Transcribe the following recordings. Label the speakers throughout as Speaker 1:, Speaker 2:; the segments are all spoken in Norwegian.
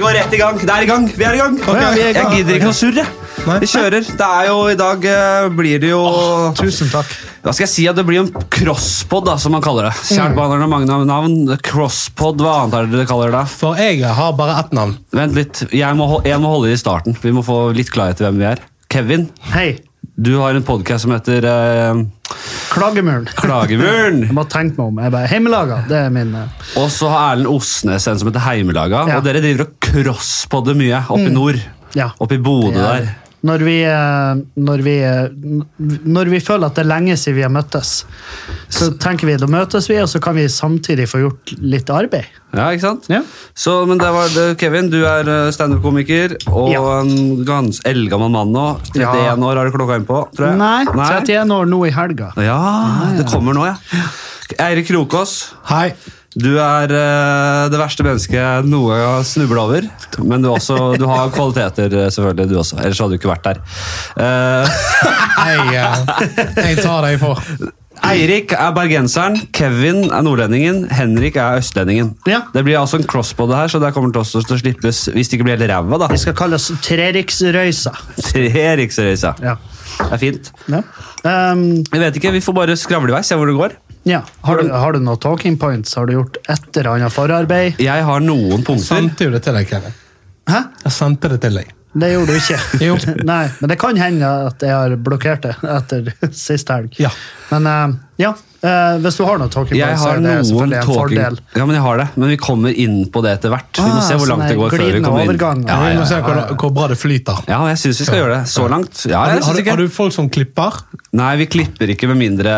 Speaker 1: går rett i gang. Det er i gang. Vi er i gang.
Speaker 2: Ok, vi er i gang.
Speaker 1: Jeg gidder ikke å surre.
Speaker 2: Nei.
Speaker 1: Vi kjører. Det er jo I dag eh, blir det jo
Speaker 2: Tusen takk.
Speaker 1: Hva skal jeg si? at Det blir jo en crosspod, da, som man kaller det.
Speaker 2: Mm.
Speaker 1: Kjært barn har noen mange nav- navn. Crosspod, hva annet er det dere kaller det? da?
Speaker 2: For jeg har bare ett navn.
Speaker 1: Vent litt. Jeg må, hol- jeg må holde i starten. Vi må få litt klarhet i hvem vi er. Kevin,
Speaker 3: Hei,
Speaker 1: du har en podkast som heter eh,
Speaker 3: Klagemuren.
Speaker 1: Klagemuren.
Speaker 3: Jeg bare tenkte meg om. Jeg bare, Hjemmelaga, det er min eh,
Speaker 1: Og så har Erlend Osnes en som heter Heimelaga.
Speaker 3: Ja.
Speaker 1: Og dere driver og crosspoder mye
Speaker 2: Mm.
Speaker 1: oppe i nord.
Speaker 3: Ja.
Speaker 1: Oppe i Bodø
Speaker 3: Ja.
Speaker 1: der.
Speaker 3: Når vi, eh, når, vi, eh, n- når vi føler at det er lenge siden vi har møttes, så tenker vi da møtes vi, og så kan vi samtidig få gjort litt arbeid.
Speaker 1: Ja, ikke sant?
Speaker 3: Ja.
Speaker 1: Så, men det var det, Kevin, du er eh, standup-komiker og
Speaker 3: Ja.
Speaker 1: en gans eldgammel mann nå. 31
Speaker 3: Ja.
Speaker 1: år har du klokka inn på, tror jeg.
Speaker 3: Nei, Ah, 31 år nå i helga.
Speaker 1: Ja, det kommer nå, ja. Eirik Krokås,
Speaker 2: Hei.
Speaker 1: du er eh, det verste mennesket jeg noen gang har snublet over. Men du, også, du har kvaliteter, eh, selvfølgelig, du også. Ellers hadde du ikke vært der. Eh,
Speaker 2: Jeg, eh, jeg tar deg for.
Speaker 1: Eirik er bergenseren, Kevin er nordlendingen, Henrik er østlendingen.
Speaker 3: Ja.
Speaker 1: Det blir altså en crossbody her, så det kommer til også til å slippes hvis det ikke blir helt ræva, da.
Speaker 3: Vi skal kalle oss Treriksrøysa.
Speaker 1: Tre riksreiser.
Speaker 3: Ja.
Speaker 1: Det er fint.
Speaker 3: Ja. Ehm,
Speaker 1: Jeg vet ikke, Vi får bare skravle i vei, se hvor det går.
Speaker 3: ja. Har, du, har du noen talking points? Har du gjort et eller annet forarbeid?
Speaker 1: Jeg har noen
Speaker 2: Jeg
Speaker 3: Sånn.
Speaker 1: punkter.
Speaker 2: sendte jo det til deg, Kevin.
Speaker 3: Hæ?
Speaker 2: Jeg sendte det til deg.
Speaker 3: Det gjorde du ikke.
Speaker 2: Jo.
Speaker 3: Nei, men det kan hende at jeg har blokkert det etter sist helg.
Speaker 2: Ja.
Speaker 3: Men eh, ja, eh, hvis du har noe talking
Speaker 1: Jeg
Speaker 3: points, så
Speaker 1: har
Speaker 3: er det
Speaker 1: noen
Speaker 3: selvfølgelig en
Speaker 1: talking
Speaker 3: fordel.
Speaker 1: Ja, men jeg har det, men vi kommer inn på det etter hvert. Vi må
Speaker 3: Ah,
Speaker 1: se hvor langt
Speaker 3: sånn
Speaker 1: det går
Speaker 3: en
Speaker 1: før vi
Speaker 3: glidende
Speaker 1: kommer
Speaker 3: overgang.
Speaker 1: inn. Ja,
Speaker 2: Vi
Speaker 1: ja,
Speaker 2: må se
Speaker 1: ja.
Speaker 2: hvor, hvor bra det flyter.
Speaker 1: ja jeg syns vi skal gjøre det. Så langt. Ja,
Speaker 2: Har
Speaker 1: jeg
Speaker 2: du,
Speaker 1: synes
Speaker 2: har, du,
Speaker 1: ikke.
Speaker 2: har du folk som klipper?
Speaker 1: Nei, vi klipper ikke med mindre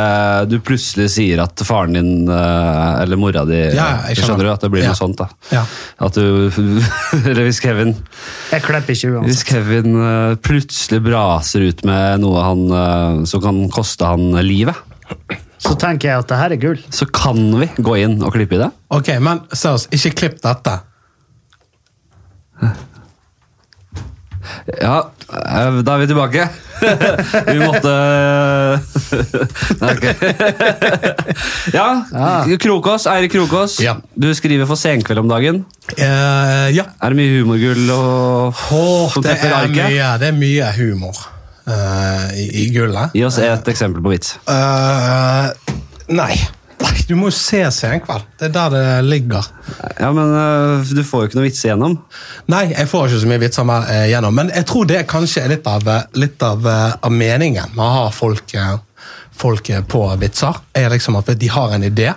Speaker 1: du plutselig sier at faren din eh, eller mora di
Speaker 2: Ja, jeg
Speaker 1: Du
Speaker 2: skjønner.
Speaker 1: Skjønner du at det blir
Speaker 2: Ja.
Speaker 1: noe sånt, da?
Speaker 2: Ja.
Speaker 1: At du Eller hvis Kevin
Speaker 3: Jeg klipper ikke uansett.
Speaker 1: Hvis Kevin eh, plutselig braser ut med noe han, eh, som kan koste han livet,
Speaker 3: Så tenker jeg at det her er gull.
Speaker 1: så kan vi gå inn og klippe i det.
Speaker 2: Ok, men seriøst, ikke klipp dette.
Speaker 1: Ja, eh, da er vi tilbake. vi måtte eh, Nei, ok. Ja, Krokås, Eirik Krokås.
Speaker 2: Ja.
Speaker 1: Du skriver for Senkveld om dagen.
Speaker 2: Eh, ja.
Speaker 1: Er det mye humorgull og
Speaker 2: Åh,
Speaker 1: som
Speaker 2: det,
Speaker 1: treffer
Speaker 2: er
Speaker 1: arket?
Speaker 2: mye, det er mye humor eh, i, i gullet.
Speaker 1: Gi oss et eksempel på vits.
Speaker 2: Eh, nei. Nei, Du må jo se Senkveld. Det er der det ligger.
Speaker 1: Ja, men eh, du får jo ikke noe vits igjennom.
Speaker 2: Nei, jeg får ikke så mye vitser med eh, gjennom, men jeg tror det kanskje er litt av, eh, litt av, eh, av meningen med å ha folk, eh, folk eh, på vitser. Er liksom at de har en idé,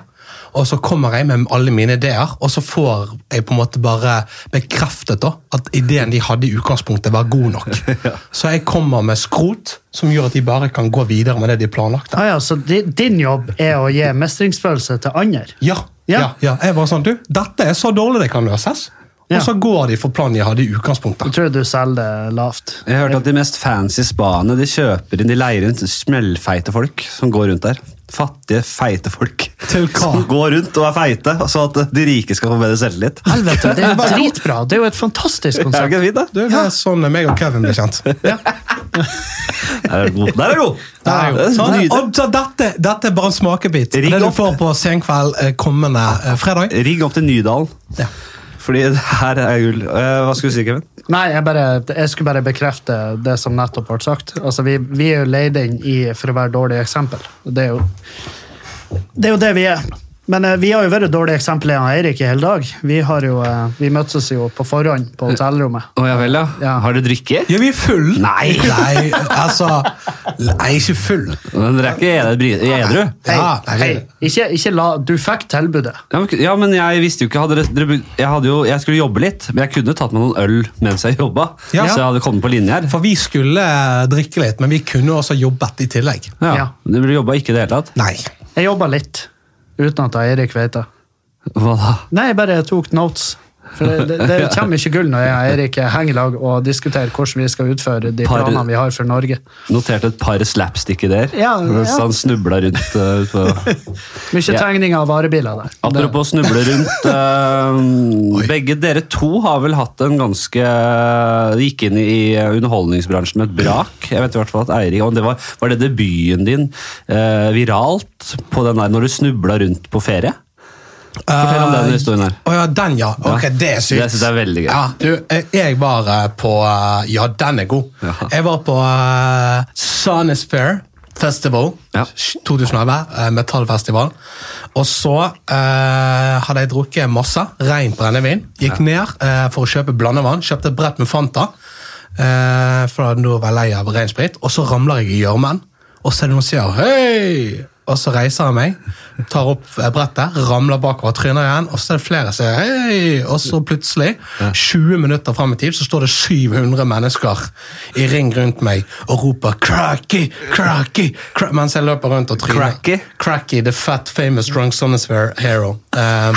Speaker 2: og så kommer jeg med alle mine ideer, og så får jeg på en måte bare bekreftet da, at ideen de hadde i utgangspunktet var god nok. Så jeg kommer med skrot som gjør at de bare kan gå videre med det de planlagte.
Speaker 3: Ah, ja, så di- din jobb er å gi mestringsfølelse til andre?
Speaker 2: Ja,
Speaker 3: Ja.
Speaker 2: ja, ja. Jeg var sånn, du, dette er så dårlig det kan løses.
Speaker 3: Ja.
Speaker 2: Og så går de for planen de hadde i
Speaker 3: Jeg
Speaker 2: utgangspunktet.
Speaker 3: tror du selger det lavt.
Speaker 1: Jeg har hørt at de mest fancy spaene de kjøper inn, de leier inn smellfeite folk som går rundt der. Fattige, feite folk.
Speaker 2: Til hva?
Speaker 1: Som går rundt og er feite, så at de rike skal få bedre selvtillit.
Speaker 3: Helvete, det er jo dritbra! Det er jo et
Speaker 1: Er
Speaker 3: fantastisk
Speaker 1: det
Speaker 3: konsept.
Speaker 1: ikke fint, da?
Speaker 2: Det er sånn meg og Kevin ble kjent.
Speaker 1: Der er det god! Der er det god.
Speaker 2: Der er
Speaker 1: Det
Speaker 2: jo.
Speaker 1: er
Speaker 2: Sånn,
Speaker 1: nydelig.
Speaker 2: og så dette, dette er bare en smakebit.
Speaker 1: Rigg
Speaker 2: Det du
Speaker 1: opp.
Speaker 2: får på senkveld eh, kommende eh, fredag.
Speaker 1: Rigg opp til Nydalen.
Speaker 2: Ja.
Speaker 1: Fordi det her er gull. Eh, hva skulle du si, Kevin?
Speaker 3: Nei, jeg, bare, jeg skulle bare bekrefte det som nettopp ble sagt. Altså, vi, vi er jo leid inn i, for å være dårlige eksempel. Og Det er jo det, er jo det vi er. Men eh, vi har jo vært dårlige eksempel jeg og Eirik i hele dag. Vi, har jo, eh, vi møttes jo på forhånd på hotellrommet.
Speaker 1: Å ja vel,
Speaker 3: Ja.
Speaker 1: Har du drikke?
Speaker 2: Ja, vi er full.
Speaker 1: Nei.
Speaker 2: Nei, altså Nei, ikke full.
Speaker 1: Men dere er ikke edru- edru?
Speaker 3: Hei,
Speaker 2: Ja, nei,
Speaker 3: hei,
Speaker 2: vi-
Speaker 3: ikke, ikke la Du fikk tilbudet.
Speaker 1: Ja, men- Ja, men jeg visste jo ikke hadde dere- dere, jeg, hadde jo, jeg skulle jobbe litt, men jeg kunne tatt meg noen øl mens jeg jobba.
Speaker 2: Ja.
Speaker 1: Så jeg hadde kommet på linje her.
Speaker 2: For vi skulle eh, drikke litt, men vi kunne også jobbet i tillegg.
Speaker 1: Ja.
Speaker 3: Ja.
Speaker 1: Du ble jobba ikke i det hele tatt?
Speaker 2: Nei.
Speaker 3: Jeg jobba litt, uten at Eirik vet det.
Speaker 1: Hva da?
Speaker 3: Nei, jeg bare tok notes. For det, det, det kommer ikke gull når jeg og Eirik henger i lag og diskuterer hvordan vi skal utføre de
Speaker 1: Par-
Speaker 3: planene vi har for Norge.
Speaker 1: Noterte et par slapstick-ideer
Speaker 3: Ja,
Speaker 1: mens
Speaker 3: ja.
Speaker 1: han snubla rundt. eh, på.
Speaker 3: Mye
Speaker 1: Ja.
Speaker 3: tegning av varebiler der.
Speaker 1: Apropos snuble rundt. eh, begge dere to har vel hatt en ganske De gikk inn i underholdningsbransjen med et brak. Jeg vet i hvert fall at Eirik og det var, var det debuten din eh, viralt på den der når du snubla rundt på ferie? Fortell om den historien her.
Speaker 2: Å ja, den, ja. Ok,
Speaker 1: Ja.
Speaker 2: Det er sykt.
Speaker 1: Det synes jeg er veldig gøy.
Speaker 2: Ja, du, eh, jeg var eh, på eh, Ja, den er god.
Speaker 1: Ja.
Speaker 2: Jeg var på uh, Sandnes Fair Festival
Speaker 1: Ja.
Speaker 2: 2011, eh, metallfestival. Og så eh, hadde jeg drukket masse rent brennevin. Gikk ned eh, for å kjøpe blandevann. Kjøpte et brett med Fanta. Uh, for nå var jeg lei av ren sprit. Og så ramler jeg i gjørmen, og så er det noen som sier 'hei'. Og så reiser jeg meg, tar opp eh, brettet, ramler bakover, tryner igjen, og så er det flere som sier 'hei'. Og så plutselig, 20 minutter fram i tid, så står det 700 mennesker i ring rundt meg og roper 'cracky, cracky', cra mens jeg løper rundt og tryner.
Speaker 1: Cracky?
Speaker 2: Cracky, the fat, famous drunk sonosphere hero. Um,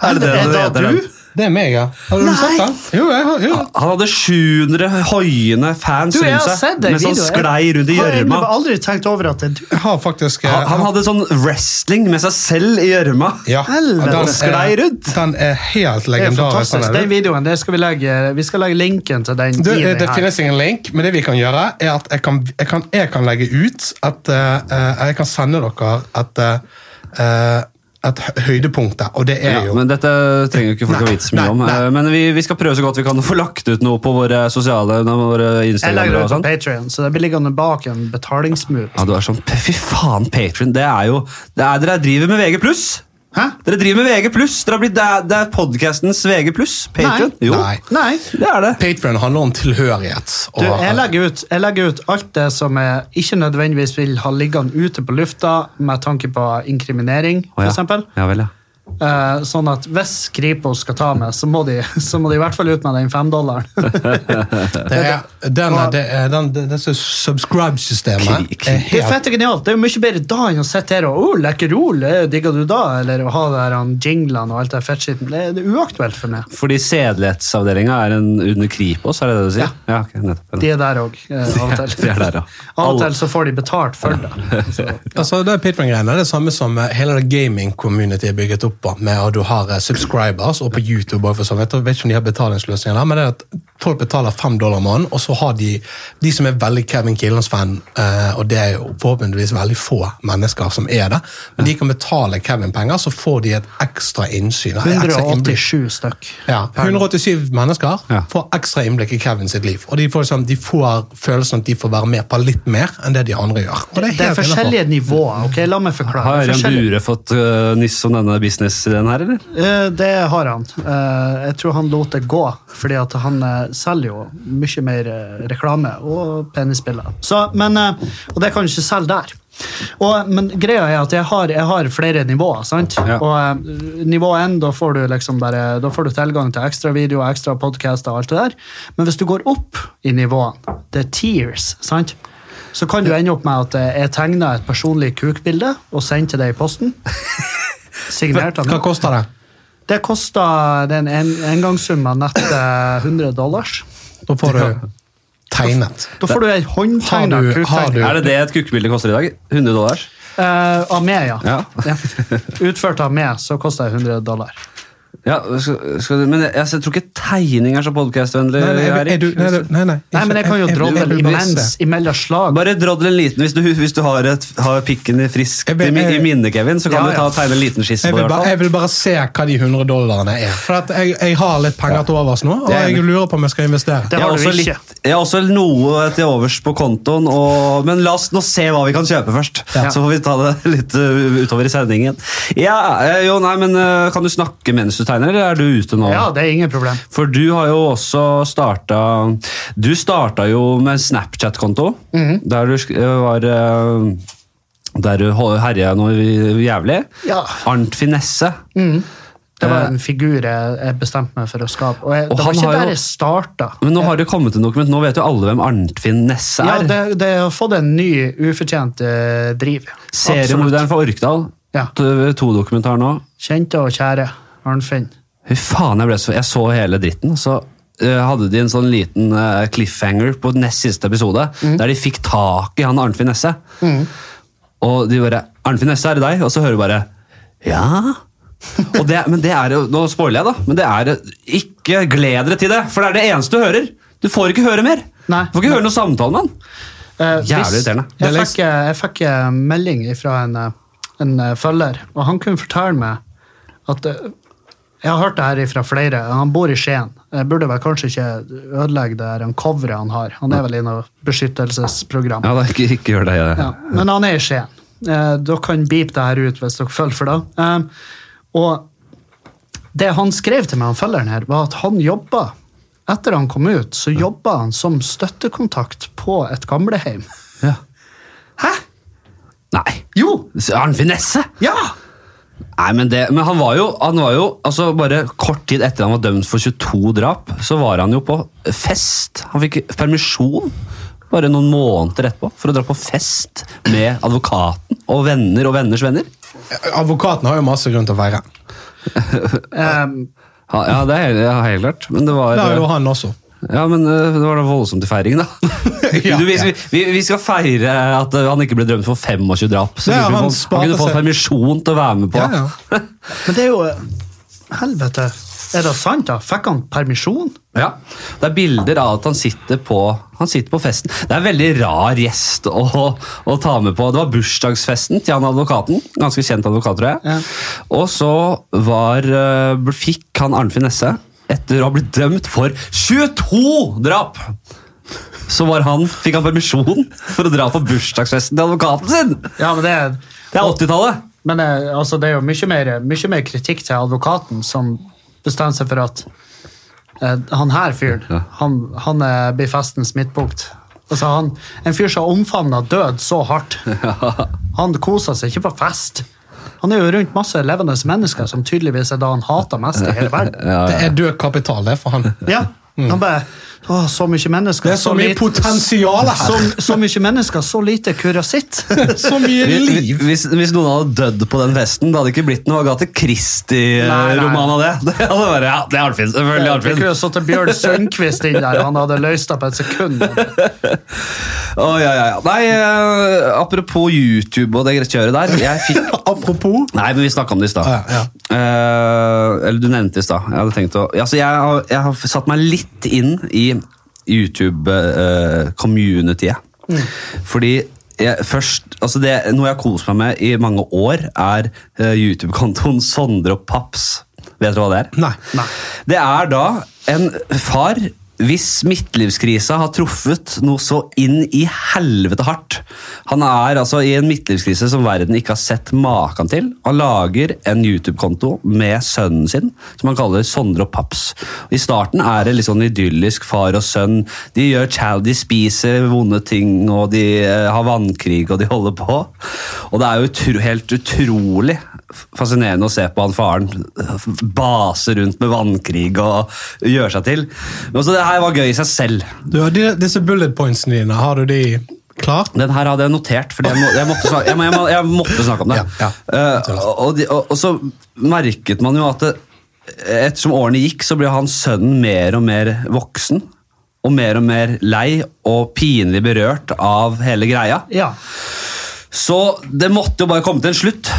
Speaker 1: Er det det
Speaker 3: Er
Speaker 1: du
Speaker 3: det
Speaker 1: heter,
Speaker 3: du?
Speaker 1: den?
Speaker 2: det er meg, ja. Har du sett den? Jo, jeg har jo.
Speaker 1: Han hadde 700 hoiende fans
Speaker 3: Du, jeg har
Speaker 1: rundt
Speaker 3: sett
Speaker 1: seg
Speaker 3: det
Speaker 1: mens han
Speaker 3: videoen.
Speaker 1: sånn sklei rundt i
Speaker 3: Har jeg
Speaker 1: gjørma.
Speaker 3: egentlig aldri tenkt over at det er du.
Speaker 2: Jeg har faktisk eh,
Speaker 1: Han, han hadde sånn wrestling med seg selv i gjørma.
Speaker 2: Ja.
Speaker 3: Helvete.
Speaker 2: og
Speaker 1: Og sklei rundt.
Speaker 2: Den er helt
Speaker 3: Det er
Speaker 2: legendarisk.
Speaker 3: fantastisk.
Speaker 2: den er
Speaker 3: Den
Speaker 2: det.
Speaker 3: videoen, det skal vi legge Vi skal legge linken til den.
Speaker 2: Du,
Speaker 3: i
Speaker 2: eh,
Speaker 3: den
Speaker 2: det
Speaker 3: her.
Speaker 2: finnes ingen link, men det vi kan gjøre, er at jeg kan, jeg kan, jeg kan legge ut at eh, eh, jeg kan sende dere et, eh, eh, et hø- høydepunkt der, og det er
Speaker 1: Ja,
Speaker 2: jo
Speaker 1: men Dette trenger jo ikke folk å
Speaker 2: Nei,
Speaker 1: vite så mye
Speaker 2: nei,
Speaker 1: om.
Speaker 2: nei.
Speaker 1: eh, Men vi, vi skal prøve så godt vi kan å få lagt ut noe på våre sosiale våre
Speaker 3: Jeg
Speaker 1: Instagram.
Speaker 3: legger det
Speaker 1: Og
Speaker 3: ut på
Speaker 1: sånn.
Speaker 3: Patreon, så det blir liggende bak en betalingsmur.
Speaker 1: Ja, du er sånn, Fy faen, Patron. Det er jo det er, Dere driver med VG+.
Speaker 3: Hæ?
Speaker 1: Dere driver med VG+. Dere har blitt, det er, det er podcastens VG+. Patron.
Speaker 3: Nei.
Speaker 1: Jo,
Speaker 2: Nei.
Speaker 3: Nei.
Speaker 1: det er det.
Speaker 2: Patreon handler om tilhørighet.
Speaker 3: Du, jeg, legger ut, jeg legger ut alt det som jeg ikke nødvendigvis vil ha liggende ute på lufta, med tanke på inkriminering,
Speaker 1: Å,
Speaker 3: f.eks.
Speaker 1: ja. ja vel, ja.
Speaker 3: Eh, sånn at hvis Kripos skal ta meg, så må de, så må de i hvert fall ut med den femdollaren.
Speaker 2: det er, den, er- det er, den, det, det subscribe-systemet
Speaker 1: Klik, klik.
Speaker 2: er
Speaker 3: Det er
Speaker 2: helt
Speaker 3: fett og genialt. Det er jo mye bedre da enn å sitte her og oh, lekkerol, eh, digger du da? Eller å ha det her, han jinglene og alt det fettskitten. Det, det er uaktuelt for meg.
Speaker 1: Fordi sedelighetsavdelinga er en under Kripos, er det det du sier? Ja, ok, nettopp.
Speaker 3: De er der òg, eh, av og til.
Speaker 1: De er der, ja.
Speaker 3: Av og til så får de betalt for det.
Speaker 2: Altså, det er Patreon-greiene. Det er det samme som eh, hele det gaming-community er bygget opp på, med at du har eh, subscribers, og på YouTube og for sånn. Jeg vet ikke om de har betalingsløsninger der, men det er at folk betaler fem dollar måneden, og så har de de som er veldig Kevin Killens-fan, eh, og det er jo forhåpentligvis veldig få mennesker som er det, men de kan betale Kevin-penger, så får de et ekstra innsyn. et ekstra innblikk.
Speaker 3: 187 stykk.
Speaker 2: Ja, 187 mennesker
Speaker 1: Ja.
Speaker 2: får ekstra innblikk i Kevin sitt liv. Og de får, liksom, de får følelsen at de får være med på litt mer enn det de andre gjør. Og
Speaker 3: Det er,
Speaker 2: helt innenfor.
Speaker 3: forskjellige nivåer. ok? La meg forklare.
Speaker 1: Har
Speaker 3: Det er
Speaker 1: Ørjan
Speaker 3: forskjellige-
Speaker 1: Bure fått uh, nyss om denne businessideen her, eller?
Speaker 3: Eh, Det har han. Eh, Jeg tror han lot det gå, fordi at han eh, selger jo mye mer eh, reklame og penisbilder. Så, men, eh, og det kan du ikke selge der. Og, men greia er at jeg har, jeg har flere nivåer. sant?
Speaker 1: Ja.
Speaker 3: Og eh, nivå 1, da får du liksom bare, da får du tilgang til ekstra video, ekstra podcaster og alt det der. Men hvis du går opp i nivåene, det er tears, sant? så kan du ende opp med at eh, jeg tegner et personlig kukbilde og sender til deg i posten. Signert av meg.
Speaker 2: Hva koster det?
Speaker 3: Det kosta det er en en- engangssum av nett eh, 100 dollars.
Speaker 2: Da får du tegnet.
Speaker 3: Da får du ei håndtegna
Speaker 2: Har du- har
Speaker 3: kuktegning.
Speaker 2: du-
Speaker 1: Er det det et kukkebilde koster i dag? 100 dollar?
Speaker 3: Eh, av meg, ja.
Speaker 1: Ja.
Speaker 3: Ja. Utført av meg, så kosta det 100 dollar.
Speaker 1: Ja, skal, skal, du- men jeg, jeg tror ikke tegning er så podcastvennlig.
Speaker 2: Nei, nei,
Speaker 1: Erik.
Speaker 2: er du- nei, du- nei, nei,
Speaker 3: Nei, men jeg kan jo
Speaker 2: er- er- er
Speaker 3: drodle
Speaker 2: du
Speaker 3: imens
Speaker 2: bevisst?
Speaker 3: imellom slag.
Speaker 1: Bare drodle en liten, hvis du, hvis du har, et, har pikken i frisk
Speaker 2: Jeg ber-
Speaker 1: i, mi- i
Speaker 2: jeg-
Speaker 1: minne, Kevin, så kan
Speaker 3: Ja,
Speaker 1: du
Speaker 3: ja.
Speaker 1: ta og tegne en liten skisse
Speaker 2: Jeg
Speaker 1: på det.
Speaker 2: vil,
Speaker 1: i
Speaker 2: bare,
Speaker 1: hvert
Speaker 2: jeg
Speaker 1: fall.
Speaker 2: vil bare se hva de 100 dollarene er. For at jeg, jeg har litt penger til overs nå, og
Speaker 1: Det er
Speaker 2: jeg
Speaker 1: enig.
Speaker 2: lurer på om jeg skal investere.
Speaker 3: Det
Speaker 1: Jeg
Speaker 3: har
Speaker 1: har,
Speaker 3: du
Speaker 1: også
Speaker 3: ikke.
Speaker 1: litt, jeg har også noe til overs på kontoen, og, men la oss nå se hva vi kan kjøpe først.
Speaker 3: Ja.
Speaker 1: Så får vi ta det litt uh, utover i sendingen. Ja, eh, jo, nei, men eh, Kan du snakke mens du tegner, eller er du ute nå?
Speaker 3: Ja, det er ingen problem.
Speaker 1: For du har jo også starta Du starta jo med en Snapchat-konto,
Speaker 3: Mhm.
Speaker 1: der du sk- øh, var øh, Der du ho- herja noe jævlig.
Speaker 3: Ja. Mm.
Speaker 1: Arnt Finesse.
Speaker 3: Det var en figur jeg, jeg bestemte meg for å skape. Og jeg,
Speaker 1: Eh. Og
Speaker 3: det
Speaker 1: han
Speaker 3: var ikke
Speaker 1: har jo-
Speaker 3: der jeg starta.
Speaker 1: Men nå har det kommet en dokument, nå vet jo alle hvem Arnfinn Nesse
Speaker 3: Ja,
Speaker 1: er.
Speaker 3: det, det har fått en ny, ufortjent eh, driv. Absolutt.
Speaker 1: Seriemorderen fra Orkdal.
Speaker 3: Ja.
Speaker 1: To-dokumentar nå.
Speaker 3: Kjente og kjære Arnfinn.
Speaker 1: Fy faen, jeg, ble så, jeg så hele dritten. Så øh, hadde de en sånn liten øh, cliffhanger på nest siste episode,
Speaker 3: Mm.
Speaker 1: der de fikk tak i han Arnfinn Nesse. Og de bare 'Arnfinn Nesse, er det deg?' Og så hører du bare 'Ja'. Og det, men det er jo, Nå spoiler jeg, da, men det er ikke gled dere til det, for det er det eneste du hører. Du får ikke høre mer.
Speaker 3: Nei.
Speaker 1: du får ikke høre noe samtale med han.
Speaker 3: Eh,
Speaker 1: Jævlig
Speaker 3: hvis-
Speaker 1: irriterende.
Speaker 3: Jeg
Speaker 2: Det er
Speaker 3: fikk, eh, jeg fikk eh, melding fra en, eh, en eh, følger, og han kunne fortelle meg At, eh, jeg har hørt det her fra flere. Han bor i Skien. Jeg burde vel kanskje ikke ødelegge det her han coveret han har. Han er vel i noe beskyttelsesprogram.
Speaker 1: Ja, da, ikke, ikke gjør det. Ja.
Speaker 3: Ja, men han er i Skien. Eh, dere kan beepe det her ut hvis dere følger for det. Eh, og det han skrev til meg, han følgeren her, var at han jobba Etter han kom ut, så jobba han som støttekontakt på et gamlehjem.
Speaker 1: Ja.
Speaker 3: Hæ?
Speaker 1: Nei.
Speaker 3: Jo!
Speaker 1: Så Har han finesse?
Speaker 3: Ja!
Speaker 1: Nei, men, det, men han var jo, han var jo altså bare Kort tid etter han var dømt for 22 drap, så var han jo på fest. Han fikk permisjon bare noen måneder etterpå for å dra på fest med advokaten og venner og venners venner.
Speaker 2: Advokaten har jo masse grunn til å feire.
Speaker 3: Eh,
Speaker 1: Ja, ja det er ja, helt klart. Men det var
Speaker 2: Det har jo han også.
Speaker 1: Ja, men eh, det var da voldsomt i feiringen, da.
Speaker 2: Ja,
Speaker 1: du, vi,
Speaker 2: ja.
Speaker 1: vi, vi skal feire at eh, han ikke ble dømt for 25 drap. Så
Speaker 2: Ja,
Speaker 1: lurer vi på
Speaker 2: han
Speaker 1: om
Speaker 2: sparte
Speaker 1: han kunne fått
Speaker 2: seg-
Speaker 1: permisjon til å være med på.
Speaker 2: Ja,
Speaker 3: men det er jo eh, Helvete. Er det sant, da? Fikk han permisjon?
Speaker 1: Ja, Det er bilder av at han sitter på, han sitter på festen. Det er en veldig rar gjest å, å ta med på. Det var bursdagsfesten til han advokaten. Ganske kjent advokat, tror jeg.
Speaker 3: Ja.
Speaker 1: Og så var, eh, fikk han Arnfinn Nesse, etter å ha blitt dømt for 22 drap, så var han, fikk han permisjon for å dra på bursdagsfesten til advokaten sin!
Speaker 3: Ja, men det er,
Speaker 1: Det er 80-tallet!
Speaker 3: men, eh, altså, det er jo mye mer, mye mer kritikk til advokaten, som bestemmer seg for at eh, han her fyren,
Speaker 1: Ja.
Speaker 3: han, han eh, blir festens midtpunkt. Altså, han, en fyr som omfavna død så hardt. Han koser seg ikke på fest. Han er jo rundt masse levende mennesker som tydeligvis er da han hater mest i hele verden.
Speaker 2: Det er død kapital, det, for han.
Speaker 3: Ja, han bare Å, så mye mennesker.
Speaker 2: Mm. Det er så mye
Speaker 3: lite-
Speaker 2: potensial her.
Speaker 3: Så, så mye mennesker, så lite kurasitt.
Speaker 2: Så mye
Speaker 1: Hvis,
Speaker 2: liv!
Speaker 1: hvis, hvis noen hadde dødd på den festen, det hadde ikke blitt noe Agathe
Speaker 3: Nei, nei.
Speaker 1: Christie-roman av det. Det hadde vært, ja, det er Arnfinn. Selvfølgelig
Speaker 3: Vi
Speaker 1: Arnfinn.
Speaker 3: kunne satt Bjørn Sundquist inn der, han hadde løst det på et sekund.
Speaker 1: Å, ja, ja, ja. Nei, eh, apropos YouTube og det kjøret der. Jeg fikk
Speaker 2: Apropos
Speaker 1: Nei, men vi snakka om det i stad.
Speaker 2: Ja, ja.
Speaker 1: Eh, eller du nevnte det i stad. Jeg hadde tenkt å altså, jeg, har, jeg har satt meg litt inn i YouTube-communityet. Fordi jeg, først, altså det, Noe jeg har kost meg med i mange år, er eh, YouTube-kontoen Sondre og Paps. Vet du hva det er?
Speaker 2: Nei.
Speaker 3: Nei.
Speaker 1: Det er da en far hvis midtlivskrisa har truffet noe så inn i helvete hardt. Han er altså i en midtlivskrise som verden ikke har sett maken til. Han lager en YouTube-konto med sønnen sin, som han kaller Sondre og Paps. I starten er det litt sånn idyllisk far og sønn. De gjør chal, de spiser vonde ting, og de eh, har vannkrig, og de holder på. Og det er jo utro, helt utrolig fascinerende å se på han faren base rundt med vannkrig og gjøre seg til. Men også det her var gøy i seg selv.
Speaker 2: Du, har de, Disse bullet pointsene dine, har du de klart?
Speaker 1: Den her hadde jeg notert, fordi jeg, må, jeg, måtte, snakke, jeg, må, jeg, må, jeg måtte snakke om det.
Speaker 2: Ja, ja.
Speaker 1: Eh, og, de, og, og så merket man jo at det, ettersom årene gikk, så ble han sønnen mer og mer voksen. Og mer og mer lei og pinlig berørt av hele greia.
Speaker 3: Ja.
Speaker 1: Så det måtte jo bare komme til en slutt.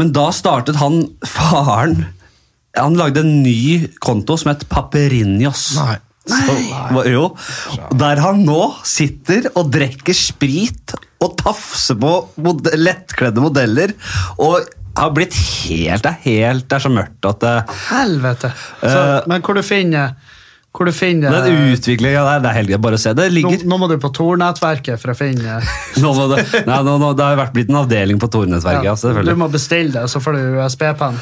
Speaker 1: Men da startet han faren Han lagde en ny konto som het Paperinjos.
Speaker 2: Nei.
Speaker 1: Så, jo, der han nå sitter og drikker sprit og tafser på mod lettkledde modeller. Og har blitt helt Det er helt Det er så mørkt at det,
Speaker 3: Helvete. Så,
Speaker 2: Eh.
Speaker 3: men hvor du finner hvor du finner eh,
Speaker 1: Den utviklinga der, det er helt greit. Bare å se. Det
Speaker 3: nå,
Speaker 1: ligger
Speaker 3: nå må du på Tor-nettverket for å finne
Speaker 1: nå, må det, nei, nå, nå, Det har jo vært blitt en avdeling på Tor-nettverket. Ja,
Speaker 3: Du
Speaker 1: selvfølgelig.
Speaker 3: må bestille det, så får du USB-penn.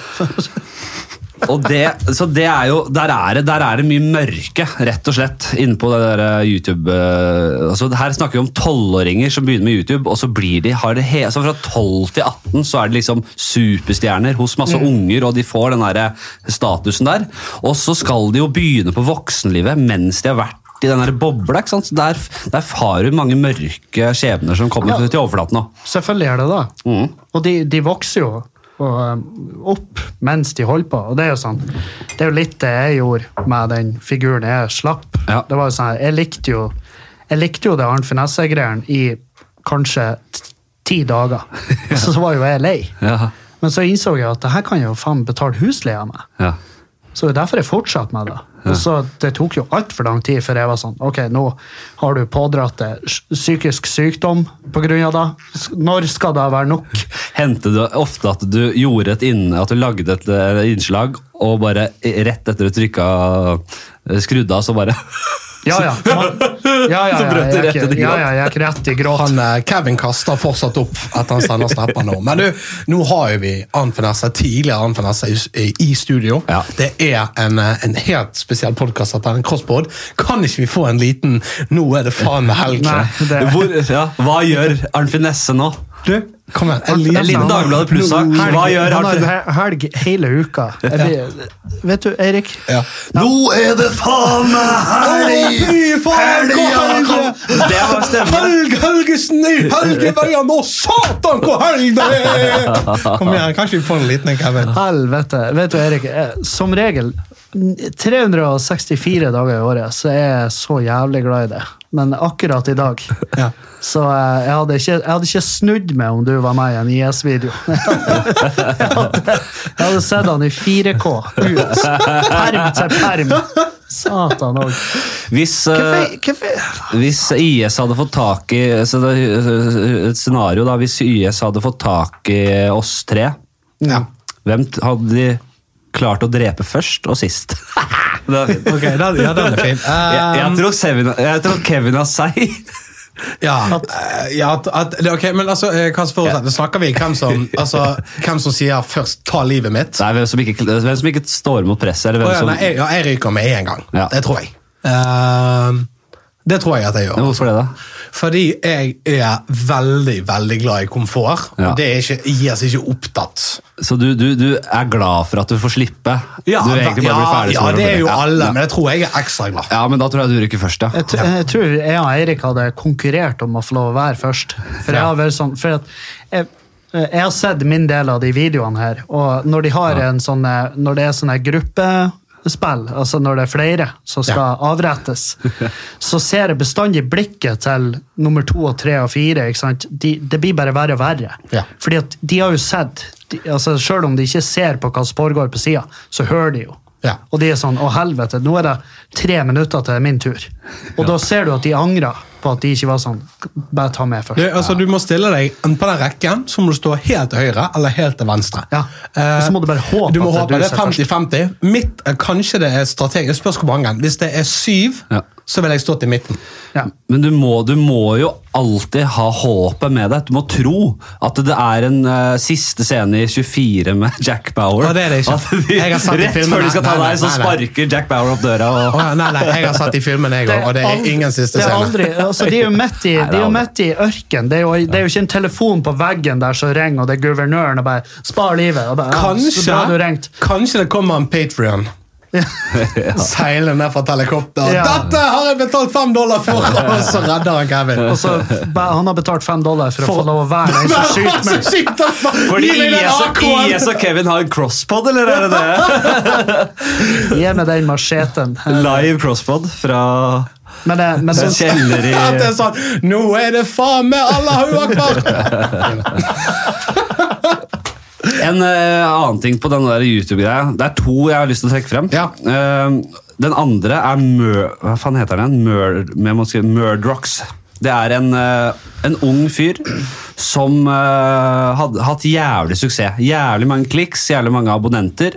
Speaker 1: Og det, så det er jo, der er det, der er det mye mørke, rett og slett, inne på det der eh, YouTube. eh, Altså, her snakker vi om tolvåringer som begynner med YouTube, og så blir de, har det he, så fra 12 til 18 så er de liksom superstjerner hos masse unger, og de får den der eh, statusen der. Og så skal de jo begynne på voksenlivet mens de har vært i den der bobla, ikke sant? Så der, der har du mange mørke skjebner som kommer
Speaker 3: Ja.
Speaker 1: til overflaten nå.
Speaker 3: Selvfølgelig er det det.
Speaker 1: Mm.
Speaker 3: Og de, de vokser jo og, um, opp mens de holder på, og det er jo sånn. Det er jo litt det jeg gjorde med den figuren jeg slapp.
Speaker 1: Ja.
Speaker 3: Det var jo sånn, her, jeg likte jo, jeg likte jo det Arnt Finesse-greien i kanskje t- ti dager. Og Så, så var jo jeg lei.
Speaker 1: Ja,
Speaker 3: Men så innså jeg at det her kan jeg jo faen betale husleia med.
Speaker 1: ja.
Speaker 3: Så det er derfor jeg fortsatte med det. Og så Det tok jo altfor lang tid før jeg var sånn Ok, nå har du pådratt deg psykisk sykdom pga. det. S- Når skal det være nok?
Speaker 1: Hendte det ofte at du gjorde et inn, at du lagde et eh, innslag, og bare rett etter du trykka eh, skrudde av, så bare
Speaker 3: Ja, ja. Man, ja, ja, ja,
Speaker 1: Så brøt
Speaker 3: jeg
Speaker 1: du
Speaker 3: er
Speaker 1: rett
Speaker 3: ikke-
Speaker 1: i gråt.
Speaker 3: Ja, ja, jeg er ikke rett i gråt.
Speaker 2: Han, eh, Kevin kaster fortsatt opp at han sender snapper nå. Men du, nå har jo vi Ann Finesse, tidligere Ann Finesse i, i studio.
Speaker 1: Ja.
Speaker 2: Det er en, eh, en helt spesiell podkast at det er en crossboard. Kan ikke vi få en liten 'nå er det faen meg helg'?
Speaker 3: Nei, det,
Speaker 1: Hvor, ja, Hva gjør Arnfinn Nesse nå?
Speaker 2: Du, kom igjen. En
Speaker 1: En liten
Speaker 2: liten dag.
Speaker 1: Dagbladet Pluss-sak.
Speaker 3: Helg-
Speaker 1: Hva gjør
Speaker 3: han har
Speaker 1: Arnfinn?
Speaker 3: he- helg hele uka. Jeg blir, vet du, Eirik?
Speaker 2: Ja. Nå er det faen meg helg! Fy faen,
Speaker 1: Helg,
Speaker 2: hvor
Speaker 1: ja,
Speaker 2: helg!
Speaker 1: kom. Det var stemmen.
Speaker 2: Helg, Helgesen i Helgeveien! Å, satan, hvor helg det er! Kom igjen, kanskje vi får en liten en, Kevin?
Speaker 3: Helvete. Vet du, Erik, eh, som regel n- 364 dager i året så er jeg så jævlig glad i det. Men akkurat i dag
Speaker 2: Ja.
Speaker 3: Så eh, jeg hadde ikke, jeg hadde ikke snudd meg om du var med i en IS-video. Jeg, hadde- jeg hadde sett han i 4K ut. Perm til perm. Satan òg.
Speaker 1: Hvis, eh, hvis IS hadde fått tak i så det er Et scenario, da. Hvis IS hadde fått tak i oss tre,
Speaker 2: Ja.
Speaker 1: hvem t- hadde de klart å drepe først og sist? det var fint.
Speaker 2: Ok, den, ja, den er fin.
Speaker 1: Jeg, jeg,
Speaker 2: Um,
Speaker 1: tror Sevin, jeg tror Kevin har seg.
Speaker 2: Ja, eh, ja at, at, det- ok, men altså, eh, hva som forutsetter? Snakker vi hvem som, altså, hvem som sier først 'ta livet mitt'?
Speaker 1: Nei, hvem som ikke, hvem som ikke står imot presset. Eller
Speaker 2: Å
Speaker 1: hvem
Speaker 2: ja,
Speaker 1: som,
Speaker 2: nei, jeg, ja, jeg ryker med en gang.
Speaker 1: Ja.
Speaker 2: Det tror jeg. Ehm, det tror jeg at jeg gjør.
Speaker 1: Ja, Hvorfor det, da?
Speaker 2: Fordi jeg er veldig, veldig glad i komfort.
Speaker 1: Ja.
Speaker 2: Og det er ikke, gir oss ikke opptatt.
Speaker 1: Så du, du, du er glad for at du får slippe? du vil egentlig bare bli ferdig
Speaker 2: ja,
Speaker 1: som
Speaker 2: det er jo
Speaker 1: reporter.
Speaker 2: alle,
Speaker 1: Ja,
Speaker 2: men jeg tror jeg er ekstra glad.
Speaker 1: ja, men da tror jeg du rykker først, ja.
Speaker 3: Jeg, tr- jeg tror jeg og Eirik hadde konkurrert om å få lov å være først. For jeg
Speaker 2: Ja.
Speaker 3: har vært sånn, for at jeg, jeg har sett min del av de videoene her, og når, de har en sånn, eh, når det er sånne gruppespill, altså når det er flere som skal avrettes, så ser jeg bestandig blikket til nummer to og tre og fire. Ikke sant? De, det blir bare verre og verre.
Speaker 2: Ja.
Speaker 3: Fordi at de har jo sett, de, altså selv om de ikke ser på hva som foregår på sida, så hører de jo.
Speaker 2: Ja.
Speaker 3: Og de er sånn 'Å, helvete, nå er det tre minutter til min tur'. Og da ser du at de angrer på at de ikke var sånn 'Bare ta meg
Speaker 2: Du,
Speaker 3: først'.
Speaker 2: altså, du må stille deg enten på den rekken, så må du stå helt til høyre eller helt til venstre. Eh,
Speaker 3: Ja. Og så må du bare håpe
Speaker 2: du må
Speaker 3: at
Speaker 2: håpe
Speaker 3: det er du
Speaker 2: det er
Speaker 3: som er først.
Speaker 2: 50-50. Mitt er kanskje det er strategisk. Spørs hvor mange. Hvis det er syv,
Speaker 1: Ja.
Speaker 2: så vil jeg stå til midten.
Speaker 3: Ja.
Speaker 1: Men du må, du må jo alltid ha håpet med deg. Du må tro at det er en eh, siste scene i 24 med Jack Bauer.
Speaker 2: Ja, det er det ikke.
Speaker 1: At de,
Speaker 2: Jeg har sett i
Speaker 1: rett
Speaker 2: filmen.
Speaker 1: før de skal ta
Speaker 2: Nei, nei,
Speaker 1: deg, så
Speaker 2: nei, nei.
Speaker 1: sparker Jack Bauer opp døra.
Speaker 2: Å,
Speaker 1: Og,
Speaker 2: ja, nei, nei, jeg har sett i filmen, jeg òg, og det er
Speaker 3: aldri-
Speaker 2: ingen siste
Speaker 3: det er
Speaker 2: scene.
Speaker 3: aldri, altså, de er jo midt i,
Speaker 1: Nei, det er
Speaker 3: de er jo
Speaker 1: aldri.
Speaker 3: midt i ørken. Det er, jo, det er jo ikke en telefon på veggen der som ringer, og det er guvernøren og bare 'Spar livet'. Og bare, ja, så
Speaker 2: Kanskje,
Speaker 3: bra du ringte.
Speaker 2: kanskje det kommer en Patrion. Seiler ned fra et helikopter.
Speaker 3: Ja.
Speaker 2: 'Dette har jeg betalt fem dollar for!' Og så redder han Kevin.
Speaker 3: Og så, bare, han har betalt fem dollar for,
Speaker 2: For-
Speaker 3: å få lov å være den som skyter meg.
Speaker 1: fordi IS og, IS og Kevin har en crosspod, eller er det det?
Speaker 3: Gi meg den macheten.
Speaker 1: Live crosspod fra
Speaker 3: Men, det- men
Speaker 1: en
Speaker 3: sånn- det-
Speaker 1: kjeller i
Speaker 2: At Altså, det er sånn Nå er det faen meg Allahu akbar!
Speaker 1: En eh, annen ting på den der YouTube-greia. Det er to jeg har lyst til å trekke frem.
Speaker 2: Ja.
Speaker 1: Eh, den andre er Mur... Hva faen heter den? Mur, med må skrive Murdrox. Det er en, eh, en ung fyr som eh, hadde hatt jævlig suksess. Jævlig mange kliks, jævlig mange abonnenter.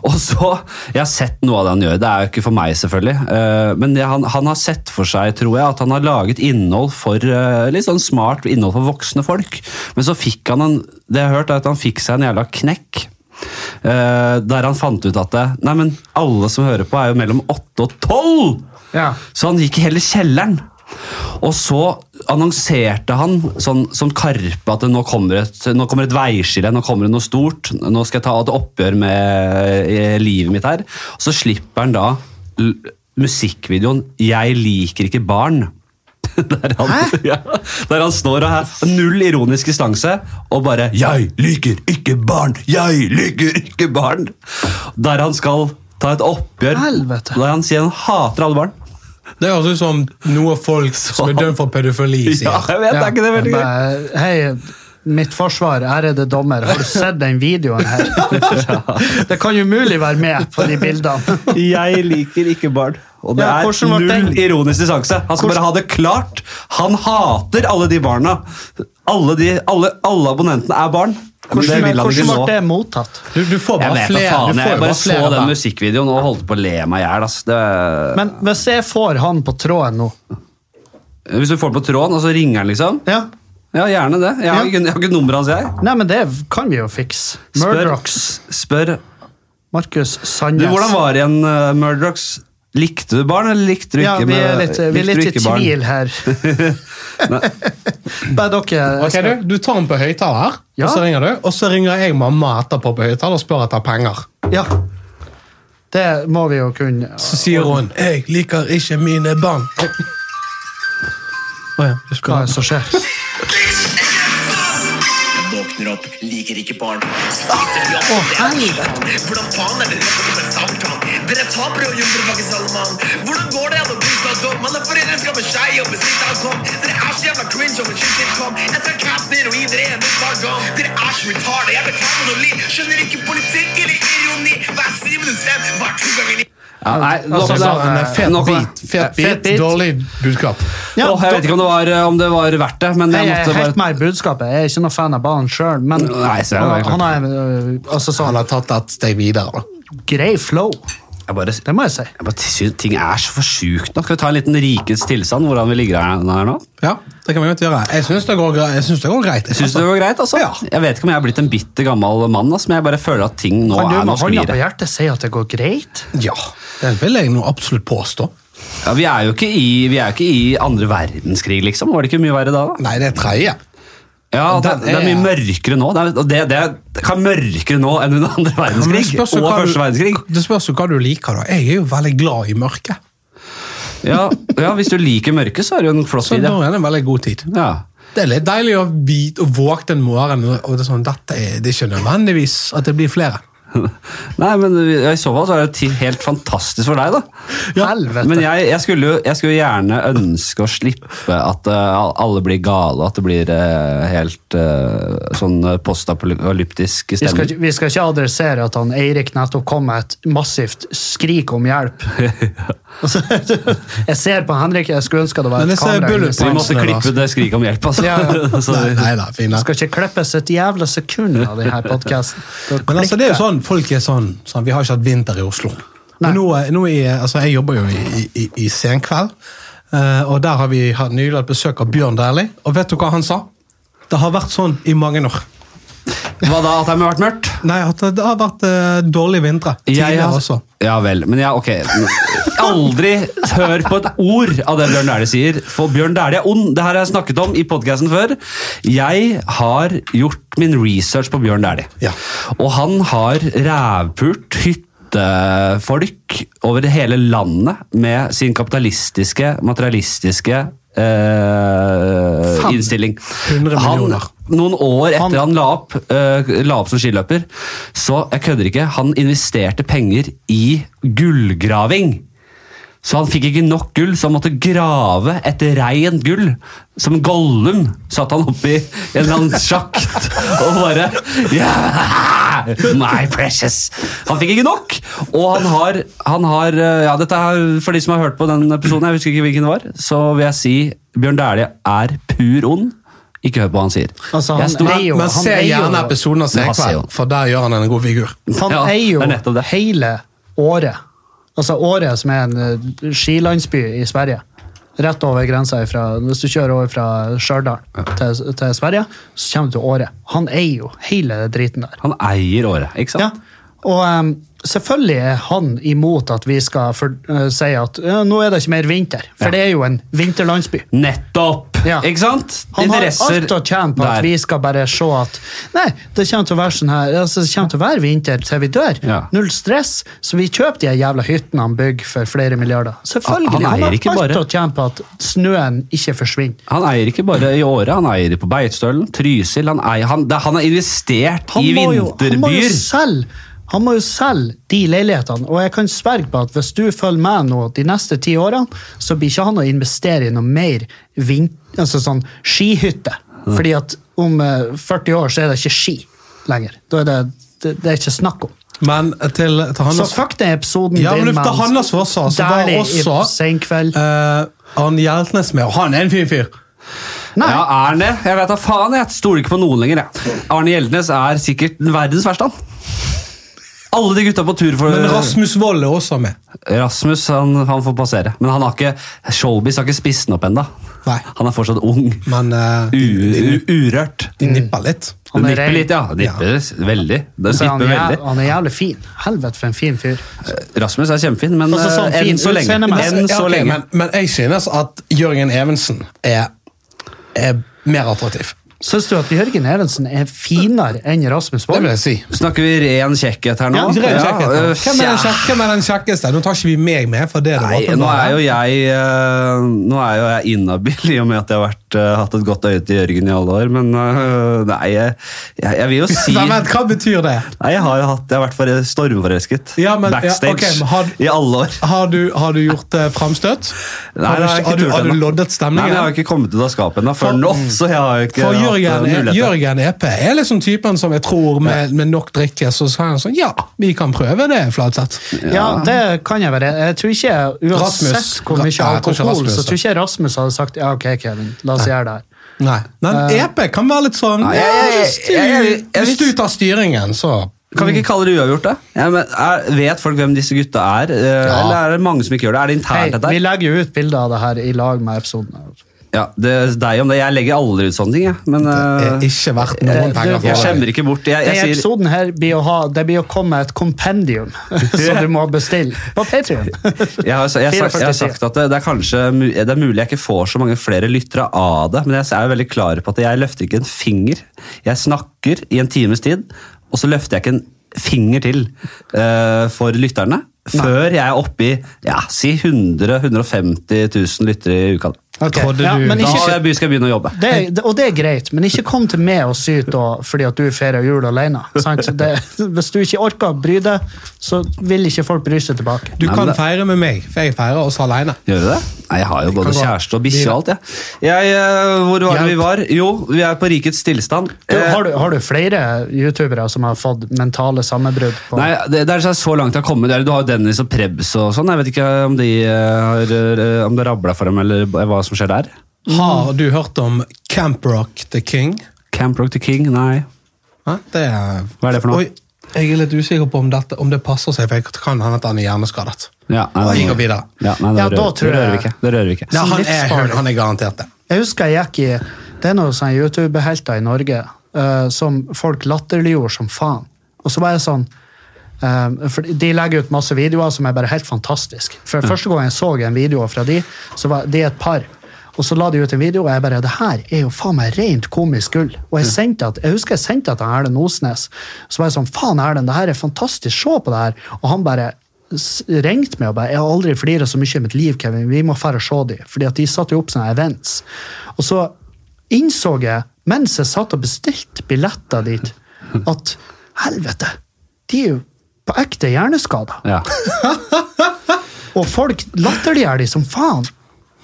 Speaker 1: Og så Jeg har sett noe av det han gjør. Det er jo ikke for meg, selvfølgelig. eh, men det, han, han har sett for seg, tror jeg, at han har laget innhold for eh, litt sånn smart innhold for voksne folk. Men så fikk han en Det jeg har hørt, er at han fikk seg en jævla knekk. Eh, der han fant ut at det, Nei, men alle som hører på, er jo mellom 8 og 12!
Speaker 3: ja.
Speaker 1: Så han gikk i hele kjelleren. Og så annonserte han sånn, som Karpe at det nå kommer, et, nå kommer et veiskille, nå kommer det noe stort. Nå skal jeg ta et oppgjør med eh, livet mitt her. Og så slipper han da l musikkvideoen 'Jeg liker ikke barn'. Der han, ja, der han står og har null ironisk distanse og bare 'Jeg liker ikke barn! Jeg liker ikke barn!' Der han skal ta et oppgjør.
Speaker 3: Helvete.
Speaker 1: Der han sier han hater alle barn.
Speaker 2: Det høres ut som noe folk som er dømt for pedofili, sier.
Speaker 1: Ja, jeg vet, er ikke det veldig gøy?
Speaker 3: Bare, Hei, mitt forsvar, ærede dommer, har du sett den videoen her? Det kan jo mulig være med på de bildene.
Speaker 1: Jeg liker ikke barn. Og det
Speaker 3: Ja, hvordan
Speaker 1: er
Speaker 3: ble den?
Speaker 1: null ironisk distanse. Han skal bare ha det klart. Han hater alle de barna. Alle, de, alle, alle abonnentene er barn. Men det
Speaker 3: Hvordan
Speaker 1: vil han ikke
Speaker 3: hvordan
Speaker 1: nå.
Speaker 3: ble det mottatt?
Speaker 2: Du, du får
Speaker 1: Jeg
Speaker 2: bare
Speaker 1: vet da
Speaker 2: flere. du
Speaker 1: faen,
Speaker 2: får jo
Speaker 1: jeg bare så
Speaker 2: flere
Speaker 1: den
Speaker 2: band.
Speaker 1: musikkvideoen og holdt på å le meg i hjel. ass. Det-
Speaker 3: Men hvis jeg får han på tråden nå
Speaker 1: Hvis du får den på tråden, og så ringer han, liksom.
Speaker 3: ja.
Speaker 1: Ja, gjerne det. Jeg har
Speaker 3: Ja.
Speaker 1: ikke, jeg har ikke nummeret hans, jeg.
Speaker 3: Nei, men det kan vi jo fikse. Murdrocks.
Speaker 1: spør
Speaker 3: Markus
Speaker 1: du,
Speaker 3: Sandnes.
Speaker 1: Hvordan var det igjen, uh, Murdrocks? Likte du barn, eller likte du ikke
Speaker 3: ja, vi er
Speaker 1: med-
Speaker 3: litt, vi er
Speaker 1: likte du
Speaker 3: litt i
Speaker 1: ikke barn?
Speaker 3: tvil her.
Speaker 1: Nei.
Speaker 3: Bare dere
Speaker 2: Ok, du, du tar den på høyttaler,
Speaker 3: Ja.
Speaker 2: og så ringer du. Og så ringer jeg mamma etterpå på høyttaler og spør etter penger.
Speaker 3: Ja. Det må vi jo kunne.
Speaker 2: Så sier hun 'Jeg liker ikke mine barn'. Å ja, du
Speaker 3: Hva
Speaker 2: skulle
Speaker 3: er det som skjer?
Speaker 4: Jeg våkner opp, liker ikke barn. Spiser jobb, det er kjipt. Hvordan faen er det rett opp med samtalen? Dere tapere og jomfrubakke Salman. Hvordan går det an å bli så dum? Man har foreldreskap med skei og besitter av kom. Dere er så jævla cringe om en shit til kom. Jeg tar casten din og gir dere en nytt par gang. Dere er så retarde, jeg betaler noe liv. Skjønner ikke politikk eller ironi. Hver syvende stem, hver to ganger ni.
Speaker 1: Ja, nei, nok, om
Speaker 2: Så sa
Speaker 1: det.
Speaker 2: han en fet
Speaker 1: Nok om det.
Speaker 2: bit, fet bit,
Speaker 3: Fet bit.
Speaker 2: dårlig budskap.
Speaker 3: Ja,
Speaker 1: Åh, jeg vet ikke om det, var, uh, om det var verdt det, men jeg
Speaker 3: Jeg er
Speaker 1: måtte
Speaker 3: helt
Speaker 1: bare
Speaker 3: med i budskapet. Jeg er ikke noen fan av banen sjøl, men
Speaker 1: Nei, så er det
Speaker 3: han,
Speaker 1: klart.
Speaker 3: han er øh, altså
Speaker 2: Han
Speaker 3: sånn
Speaker 2: har tatt et steg videre. da.
Speaker 3: grei flow.
Speaker 1: Jeg bare,
Speaker 3: Det må jeg si.
Speaker 1: jeg bare synes ting er så for sjukt nå. Skal vi ta en liten rikets tilstand, hvordan vi ligger her her nå?
Speaker 2: Ja, det kan vi godt gjøre. Jeg syns det, går gre- jeg synes det går greit.
Speaker 1: Syns du det var greit, altså? Jeg vet ikke om jeg er blitt en bitter gammel mann, ass, men jeg bare føler at ting nå
Speaker 3: Kan du
Speaker 1: er nå
Speaker 3: med hånda
Speaker 1: sklir
Speaker 3: på
Speaker 1: det.
Speaker 3: hjertet si at det går greit?
Speaker 2: Ja, det vil jeg nå absolutt påstå.
Speaker 1: Ja, vi er jo ikke i, vi er jo ikke i andre verdenskrig, liksom. Var det ikke mye verre da? da?
Speaker 2: Nei, det er tredje.
Speaker 1: Ja, det,
Speaker 2: Den
Speaker 1: det er mye mørkere nå. Det, er, og det, det, det kan mørkere nå enn under andre
Speaker 2: Men det
Speaker 1: verdenskrig.
Speaker 2: spørs jo
Speaker 1: Og
Speaker 2: hva
Speaker 1: første verdenskrig.
Speaker 2: du- Det spørs jo hva du liker, da. Jeg er jo veldig glad i mørket.
Speaker 1: Ja, ja, hvis du liker mørke, så er det jo en flott
Speaker 2: Så
Speaker 1: video.
Speaker 2: da er det en veldig god tid.
Speaker 1: Ja.
Speaker 2: Det er litt deilig å vite og våkne en morgen og det er sånn, dette er, det er ikke nødvendigvis at det blir flere.
Speaker 1: Nei, men i så fall så er det ti- helt fantastisk for deg, da.
Speaker 3: Helvete.
Speaker 1: Men jeg, jeg, skulle jo, jeg skulle gjerne ønske å slippe at eh, alle blir gale, at det blir eh, helt eh, sånn eh, postapokalyptisk
Speaker 3: Vi skal,
Speaker 1: stemning.
Speaker 3: ikke- vi skal ikke adressere at han Eirik nettopp kom med et massivt skrik om hjelp. Altså, jeg ser på Henrik, jeg skulle ønske det var
Speaker 2: Men
Speaker 3: et
Speaker 2: jeg ser
Speaker 3: kamera
Speaker 2: bullet
Speaker 3: inne.
Speaker 1: Så vi måtte
Speaker 2: Pansene, da.
Speaker 1: klippe det skriket om hjelp, altså.
Speaker 3: Ja, ja.
Speaker 1: Så-
Speaker 2: Nei, nei da, fint.
Speaker 3: Det
Speaker 2: da.
Speaker 3: skal ikke klippes et jævla sekund av denne podkasten.
Speaker 2: Men altså, det er jo sånn, folk er sånn, sånn Vi har ikke hatt vinter i Oslo.
Speaker 3: Nei.
Speaker 2: Og Nå, er- nå er, altså, jeg jobber jo i, i, i senkveld, eh, og der har vi hatt nylig hatt besøk av Bjørn Dæhlie. Og vet du hva han sa? Det har vært sånn i mange år.
Speaker 1: Hva da, at det har vært mørkt?
Speaker 2: Nei, at det, det har vært eh, dårlige vintre.
Speaker 1: Jeg
Speaker 2: Tidligere
Speaker 1: har-
Speaker 2: også.
Speaker 1: Ja vel, men ja, ok. Aldri hør på et ord av det Bjørn Dæhlie sier, for Bjørn Dæhlie er ond. Det her har jeg snakket om i podkasten før. Jeg har gjort min research på Bjørn Dæhlie.
Speaker 2: Ja.
Speaker 1: Og han har rævpult hyttefolk over hele landet med sin kapitalistiske, materialistiske eh,
Speaker 2: Faen.
Speaker 1: innstilling.
Speaker 2: 100 millioner.
Speaker 1: Han, noen år etter han, la, opp, eh, la opp som skiløper, så jeg kødder ikke, han investerte penger i gullgraving. Så han fikk ikke nok gull, så han måtte grave et rent gull. Som Gollum satt han oppi en eller annen sjakt og bare yeah, My precious! Han fikk ikke nok! Og han har, han har eh, ja, dette er For de som har hørt på den episoden, jeg husker ikke hvilken det var, så vil jeg si Bjørn Dæhlie er pur ond. Ikke hør på hva han sier.
Speaker 3: Altså, han
Speaker 1: Jeg sto-
Speaker 3: er jo-
Speaker 2: Men
Speaker 3: han
Speaker 2: se
Speaker 3: er jo-
Speaker 2: gjerne episoden av
Speaker 1: Han ser jo-
Speaker 2: Senkveld, for der gjør han en god figur.
Speaker 3: Han
Speaker 1: Ja,
Speaker 3: eier jo
Speaker 1: det er nettopp det.
Speaker 3: hele Året. Altså Året, som er en eh, skilandsby i Sverige. Rett over grensa ifra, Hvis du kjører over fra Stjørdal til, til Sverige, så kommer du til Åre. Han eier jo hele den driten der.
Speaker 1: Han eier året, ikke sant?
Speaker 3: Ja. Og em, selvfølgelig er han imot at vi skal for, eh, si at eh, nå er det ikke mer vinter, for
Speaker 1: Ja.
Speaker 3: det er jo en vinterlandsby.
Speaker 1: Nettopp!
Speaker 3: Ja.
Speaker 1: Ikke sant?
Speaker 3: Han har
Speaker 1: Interesser
Speaker 3: alt å tjene på at
Speaker 1: der.
Speaker 3: vi skal bare se at Nei, det kommer til å være sånn her altså, Det kommer til å være vinter til vi dør.
Speaker 1: Ja.
Speaker 3: Null stress. Så vi kjøper de her jævla hyttene han bygger for flere milliarder. Selvfølgelig.
Speaker 1: Han-
Speaker 3: Han,
Speaker 1: han eier
Speaker 3: har
Speaker 1: ikke
Speaker 3: alt
Speaker 1: bare-
Speaker 3: å tjene på at snøen ikke forsvinner.
Speaker 1: Han eier ikke bare i Åre, han eier på Beitstølen, Trysil Han, eier, han, det, han har investert
Speaker 3: Han
Speaker 1: i
Speaker 3: må jo- Han må jo
Speaker 1: vinterbyer.
Speaker 3: selge han må jo selge de leilighetene, og jeg kan sverge på at hvis du følger med nå de neste ti årene, så blir ikke han å investere i noe mer vin, altså sånn skihytte. Fordi at om eh, 40 år så er det ikke ski lenger. Da er det, det, det er ikke snakk om.
Speaker 2: Men til, til
Speaker 3: Så
Speaker 2: Hannes
Speaker 3: fuck den episoden
Speaker 2: Ja, men til
Speaker 3: din, mann.
Speaker 2: Hannes Fossa, så var
Speaker 3: Dæhlie i
Speaker 2: også-
Speaker 3: Senkveld.
Speaker 2: eh, Arne Hjeltnes med, og han er en fin fyr.
Speaker 3: Nei,
Speaker 1: Ja, er han det? Jeg vet da faen, jeg stoler ikke på noen lenger. Jeg. Arne Hjeltnes er sikkert verdens verste, han. Alle de gutta på tur for
Speaker 2: Men Rasmus Wold er også med.
Speaker 1: Rasmus han, han får passere. Men han har ikke, showbiz har ikke spist den opp ennå.
Speaker 2: Nei.
Speaker 1: Han er fortsatt ung.
Speaker 2: Men eh,
Speaker 1: U
Speaker 2: de, de,
Speaker 1: urørt.
Speaker 2: de nipper litt.
Speaker 1: Du
Speaker 3: Han er
Speaker 1: nipper
Speaker 3: ren.
Speaker 1: litt, ja. Nipper veldig. Det
Speaker 3: så han,
Speaker 1: nipper
Speaker 3: er, jæv-
Speaker 1: veldig.
Speaker 3: han er jævlig fin. Helvete, for en fin fyr.
Speaker 1: Rasmus er kjempefin, men
Speaker 3: Altså, sånn
Speaker 1: eh,
Speaker 3: fin
Speaker 1: enn så lenge.
Speaker 3: utseendemessig.
Speaker 1: Enn
Speaker 2: Altså, Ja,
Speaker 1: så
Speaker 2: ok,
Speaker 1: lenge.
Speaker 2: men, men jeg synes at Jørgen Evensen er, er mer attraktiv.
Speaker 3: Syns du at Jørgen Evensen er finere enn Rasmus
Speaker 2: Det
Speaker 3: Wold?
Speaker 2: vil jeg si.
Speaker 1: Snakker vi ren kjekkhet her nå?
Speaker 2: Ja, ren kjekkhet, da.
Speaker 1: øh,
Speaker 2: hvem, er den
Speaker 1: tja.
Speaker 2: kjekke, hvem er den kjekkeste? Nå tar ikke vi meg med, for det er det
Speaker 1: Nei, nå
Speaker 2: åpenbare.
Speaker 1: er jo jeg eh, Nå er jo jeg inhabil i og med at jeg har vært, eh, hatt et godt øye til Jørgen i alle år, men eh, nei, jeg, jeg, jeg vil jo si
Speaker 2: Nei, men, hva betyr det?
Speaker 1: Nei, jeg har jo hatt, jeg har vært for- stormforelsket.
Speaker 2: Ja, men- ja,
Speaker 1: Backstage
Speaker 2: ok, men har-
Speaker 1: i alle år.
Speaker 2: Har du, har du gjort eh, framstøt?
Speaker 1: Nei, det
Speaker 2: har, du-
Speaker 1: har jeg ikke
Speaker 2: har, du-
Speaker 1: turt
Speaker 2: har du
Speaker 1: ennå. Nei,
Speaker 2: loddet
Speaker 1: men jeg har
Speaker 2: stemningen?
Speaker 1: ikke kommet ut av skapet ennå før nå, så jeg har jo ikke
Speaker 2: For
Speaker 1: hatt, eh,
Speaker 2: Jørgen, E-
Speaker 1: muligheter.
Speaker 2: Jørgen EP er liksom typen som jeg tror med, med nok drikke så sa han sånn Ja, vi kan prøve det, Flatseth.
Speaker 3: Ja, det kan jeg være. Jeg tror ikke,
Speaker 2: Rasmus.
Speaker 3: Uansett hvor
Speaker 2: Nei,
Speaker 3: mye
Speaker 2: jeg tror ikke
Speaker 3: alkohol,
Speaker 2: Rasmus,
Speaker 3: så
Speaker 2: da.
Speaker 3: tror ikke jeg Rasmus hadde sagt ja, ok, Kevin, la oss gjøre det her.
Speaker 2: Nei. Men EP kan være litt sånn
Speaker 1: eh, Nei,
Speaker 2: ja,
Speaker 1: jeg- jeg-
Speaker 2: hvis, du,
Speaker 1: jeg- jeg- jeg-
Speaker 2: hvis du tar styringen, så
Speaker 1: Kan vi ikke kalle det uavgjort, da? Ja, men er, vet folk hvem disse gutta er? eh,
Speaker 2: Ja.
Speaker 1: Eller er det mange som ikke gjør det? Er det
Speaker 3: Hei,
Speaker 1: internt, dette
Speaker 3: vi
Speaker 1: her?
Speaker 3: legger jo ut bilder av det her i lag med episoden. her.
Speaker 1: Ja, det er deg om det. Jeg legger aldri ut sånne ting, jeg. Men
Speaker 2: er
Speaker 1: eh,
Speaker 2: ikke verdt noen
Speaker 3: det-
Speaker 2: penger
Speaker 1: jeg
Speaker 2: for
Speaker 1: skjemmer
Speaker 2: deg.
Speaker 1: ikke bort. Jeg,
Speaker 3: Den
Speaker 1: jeg sier
Speaker 3: episoden her blir å ha, det blir å komme et kompendium som du må bestille på Patreon.
Speaker 1: jeg har, jeg, har sagt, jeg har sagt at det, det er kanskje mu- det er mulig jeg ikke får så mange flere lyttere av det, men jeg er veldig klar på at jeg løfter ikke en finger. Jeg snakker i en times tid, og så løfter jeg ikke en finger til eh, for lytterne før jeg er oppe i ja, si 100 150 000 lyttere i uka.
Speaker 3: Ok,
Speaker 2: Trodde
Speaker 3: ja,
Speaker 2: du-
Speaker 3: men
Speaker 1: Da
Speaker 3: ikke-
Speaker 1: har jeg be- skal jeg begynne å jobbe.
Speaker 3: det, det- og det er greit, men ikke kom til meg og syt og, fordi at du feirer jul alene. Sant? Det, hvis du ikke orker å bry deg, så vil ikke folk bry seg tilbake.
Speaker 2: Du
Speaker 1: Nei, men
Speaker 2: kan
Speaker 1: det-
Speaker 2: feire med meg, for jeg feirer oss aleine.
Speaker 1: Gjør du det? Nei, Jeg har jo både
Speaker 2: kan gå.
Speaker 1: kjæreste og bikkje og alt, jeg. jeg. eh, Hvor var det vi
Speaker 2: Hjelp.
Speaker 1: var? Jo, vi er på rikets tilstand.
Speaker 3: Du,
Speaker 1: Eh,
Speaker 3: har, du, har du flere youtubere som har fått mentale sammenbrudd? på-
Speaker 1: Nei, det, det er så- så langt jeg har kommet. Eller Du har jo Dennis og Prebz og sånn. Jeg vet ikke om, de, eh, har, eh, om det rabla for dem, eller hva som skjer der. Mm.
Speaker 2: Har du hørt om Camp Rock the King?
Speaker 1: Camp Rock the King, nei.
Speaker 2: Hæ? Det er,
Speaker 1: Hva er det for noe?
Speaker 2: Oi, jeg er litt usikker på om, dette, om det passer seg, for jeg kan hende at han er hjerneskadet.
Speaker 1: Ja, nei,
Speaker 2: Vi
Speaker 1: det-
Speaker 2: går videre.
Speaker 1: Ja, nei, det
Speaker 3: Ja,
Speaker 1: rører-
Speaker 3: da tror
Speaker 1: det rører vi
Speaker 3: jeg-
Speaker 1: ikke. Det rører vi ikke.
Speaker 2: Ja, han, er,
Speaker 3: livsfarlig.
Speaker 2: han er garantert det.
Speaker 3: Jeg husker jeg gikk i Det er noen sånne YouTube-helter i Norge eh, som folk latterliggjorde som faen. Og så var jeg sånn eh, for De legger ut masse videoer som er bare helt fantastiske. For Første gang jeg så en video fra de, så var de et par. Og så la de ut en video, og jeg bare Det her er jo faen meg rent komisk gull. Og jeg sendte at, jeg husker jeg sendte det til Erlend Osnes. Så var jeg sånn Faen, Erlend, det her er fantastisk. Se på det her. Og han bare s- ringte meg og bare Jeg har aldri flira så mye i mitt liv, Kevin. Vi må færre se dem. Fordi at de satte jo opp sånne events. Og så innså jeg, mens jeg satt og bestilte billetter dit, at helvete, de er jo på ekte hjerneskada.
Speaker 1: Ja.
Speaker 3: Og folk latterliggjør de som faen.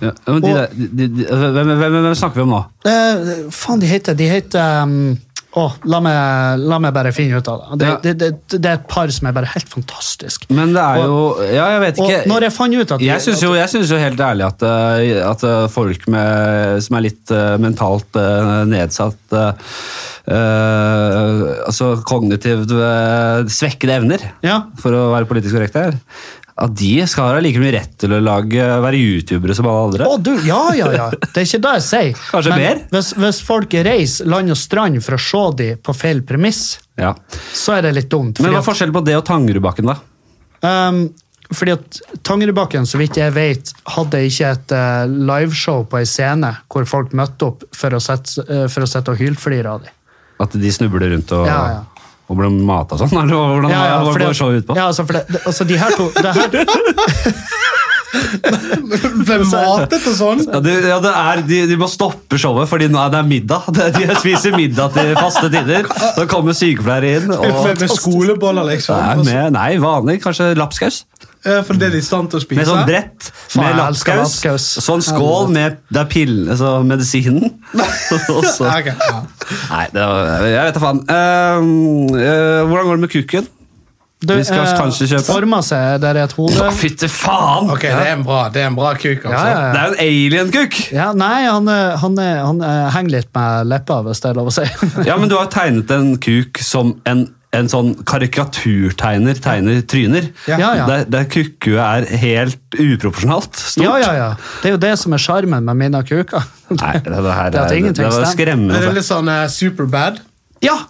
Speaker 1: Ja, men de, der- de, de, de, hvem, hvem, hvem snakker vi om nå?
Speaker 3: Eh, faen, de heter De heter um, å, la, meg, la meg bare finne ut av det. Det,
Speaker 1: Ja.
Speaker 3: det, det. det er et par som er bare helt fantastisk.
Speaker 1: Men det er jo
Speaker 3: Og-
Speaker 1: Ja, jeg vet
Speaker 3: og
Speaker 1: ikke.
Speaker 3: når jeg fant ut at-
Speaker 1: Jeg syns jo, jeg synes jo helt ærlig at, eh, at eh, folk med, som er litt eh, mentalt eh, nedsatt eh, eh, Altså kognitivt eh, svekkede evner,
Speaker 3: Ja.
Speaker 1: for å være politisk korrekt her, at de skal ha like mye rett til å lage, være youtubere som alle andre.
Speaker 3: Å, du, ja, ja, ja. Det er ikke det jeg sier.
Speaker 1: Kanskje mer?
Speaker 3: Hvis, hvis folk reiser land og strand for å se dem på feil premiss,
Speaker 1: Ja.
Speaker 3: så er det litt dumt.
Speaker 1: Men
Speaker 3: fordi
Speaker 1: hva
Speaker 3: at-
Speaker 1: er forskjellen på det og Tangerudbakken, da?
Speaker 3: Um, fordi at Tangerudbakken, så vidt jeg vet, hadde ikke et eh, liveshow på ei scene hvor folk møtte opp for å sette, eh, for å sette og hylflire av dem.
Speaker 1: At de snubler rundt og,
Speaker 3: Ja, ja.
Speaker 1: og blir mata sånn? Eller hvordan ja, ja,
Speaker 3: fordi at-
Speaker 1: showet ut på?
Speaker 3: ja, altså, for det, det, altså, de her to det her,
Speaker 2: Matet og sånn!
Speaker 1: Ja, det, ja, det er, de, de må stoppe showet, fordi nå er det middag. De, de spiser middag til faste tider. Så kommer sykepleiere inn. og...
Speaker 2: Med skoleboller,
Speaker 1: Nei,
Speaker 2: liksom.
Speaker 1: med, nei, vanlig. Kanskje lapskaus?
Speaker 2: Eh, For det er de i stand til å
Speaker 1: Med
Speaker 2: spise.
Speaker 1: sånn brett med
Speaker 3: Faen, jeg elsker
Speaker 1: lapskaus.
Speaker 3: lapskaus.
Speaker 1: Sånn skål med det er pillen, altså medisinen. Og så
Speaker 2: Ja, ok, ja.
Speaker 1: Nei, det var, jeg vet da faen. Ehm, eh, hvordan går det med kukken?
Speaker 3: Du,
Speaker 1: Vi skal kanskje kjøpe.
Speaker 3: Forma seg eh, der i et hode.
Speaker 1: Å, Fytte faen!
Speaker 2: Ok, det er en bra, det er en bra kuk, altså.
Speaker 3: Ja, ja, ja.
Speaker 1: Det er jo en alien-kukk!
Speaker 3: Ja, nei, han, eh, han, eh, han eh, henger litt med leppa, hvis det er lov å si.
Speaker 1: Ja, men du har tegnet en kuk som en, en sånn karikaturtegner tegner tryner.
Speaker 3: Ja. Ja, ja.
Speaker 1: Der, der kukkuet er helt uproporsjonalt stort.
Speaker 3: Ja, ja, ja. Det er jo det som er sjarmen med mine kuker.
Speaker 1: Nei, det, det her
Speaker 3: Det er at
Speaker 1: er- det,
Speaker 3: ingenting
Speaker 1: var
Speaker 3: stemmer.
Speaker 1: skremmende.
Speaker 2: Men det er litt sånn eh, superbad.
Speaker 3: Ja!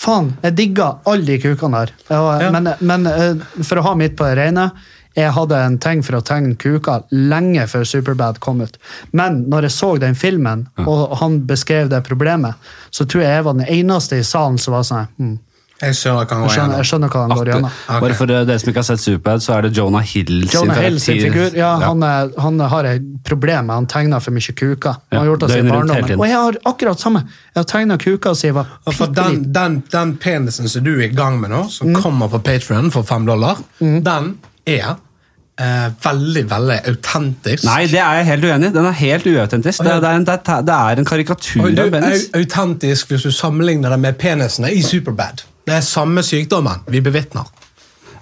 Speaker 3: Faen, jeg digger alle de kukene her. Og,
Speaker 2: Ja.
Speaker 3: Men, men eh, for å ha mitt på det rene jeg hadde en ting for å tegne kuker lenge før Superbad kom ut. Men når jeg så den filmen, og han beskrev det problemet, så tror jeg jeg var den eneste i salen som var sånn hm,
Speaker 2: Jeg skjønner hva han
Speaker 3: jeg,
Speaker 2: går
Speaker 3: skjønner,
Speaker 2: gjennom.
Speaker 3: jeg skjønner hva han går gjennom.
Speaker 2: Ok.
Speaker 1: Bare for eh, dere som ikke har sett Superbad, så er det Jonah Hill
Speaker 3: Jonah Hill sin
Speaker 1: karakter-
Speaker 3: figur, ja, han, er, han har et problem med han tegner for mye kuker. Han har
Speaker 1: Ja,
Speaker 3: gjort det siden
Speaker 1: døgnet rundt hele
Speaker 3: barndommen.
Speaker 1: tiden.
Speaker 3: Og jeg har akkurat samme. Jeg har tegna kuker siden jeg var
Speaker 2: Og for den,
Speaker 3: pitteliten.
Speaker 2: den, den penisen som du er i gang med nå, som
Speaker 1: Mm.
Speaker 2: kommer på Patreon for fem dollar, den er eh, veldig, veldig autentisk.
Speaker 1: Nei, det er jeg helt uenig i. Den er helt uautentisk. Det, er- det, er en- det, er- det er en karikatur
Speaker 2: Og du,
Speaker 1: av penis.
Speaker 2: au- autentisk hvis du sammenligner det med penisene i Superbad. Det er samme sykdommen vi bevitner.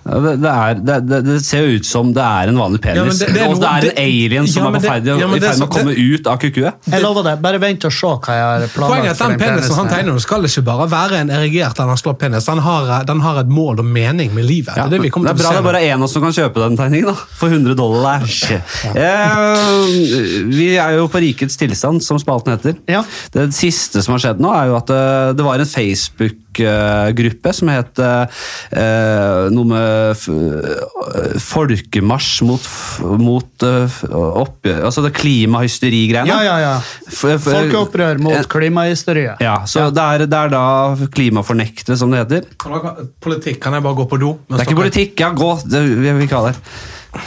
Speaker 1: Ja, Det, det, er, det, det, det ser jo ut som det er en vanlig
Speaker 2: Ja, men
Speaker 1: penis.
Speaker 2: det- det er
Speaker 1: og det
Speaker 2: noe-
Speaker 1: er en
Speaker 2: det-
Speaker 1: alien som
Speaker 2: Ja,
Speaker 1: er
Speaker 2: men
Speaker 1: på ferd
Speaker 2: det- ja, men
Speaker 1: i
Speaker 2: det er
Speaker 1: ferd med å
Speaker 2: så-
Speaker 1: komme ut av kukuet.
Speaker 3: Jeg lover det. Bare vent og se hva jeg har
Speaker 2: Poenget er
Speaker 3: planlagt.
Speaker 2: at Den penisen han
Speaker 3: her.
Speaker 2: tegner, nå, skal ikke bare være en erigert eller en slapp penis. Den har, eh, den har et mål og mening med livet.
Speaker 1: Ja,
Speaker 2: det er det vi kommer
Speaker 1: det er bra
Speaker 2: til å
Speaker 1: det
Speaker 2: se
Speaker 1: er bare
Speaker 2: nå.
Speaker 1: er en av oss som kan kjøpe den tegningen, da. For 100 dollar. Eh, vi er jo på rikets tilstand, som spalten heter.
Speaker 3: Ja.
Speaker 1: Det siste som har skjedd nå, er jo at eh, det var en Facebook-gruppe som het eh, noe med f eh, Folkemarsj mot, f- mot eh, f- oppgjør Altså det klimahysteri-greiene.
Speaker 3: Ja, ja, ja.
Speaker 1: F- f-
Speaker 3: Folkeopprør
Speaker 1: Eh,
Speaker 3: mot klimahysteriet.
Speaker 1: Ja, så Det, er, det er da klimafornektere, som det heter.
Speaker 2: Kan dere- Politikk, kan jeg bare gå på do?
Speaker 1: Det er ikke politikk, ja, gå! Det, vi vil ikke ha det.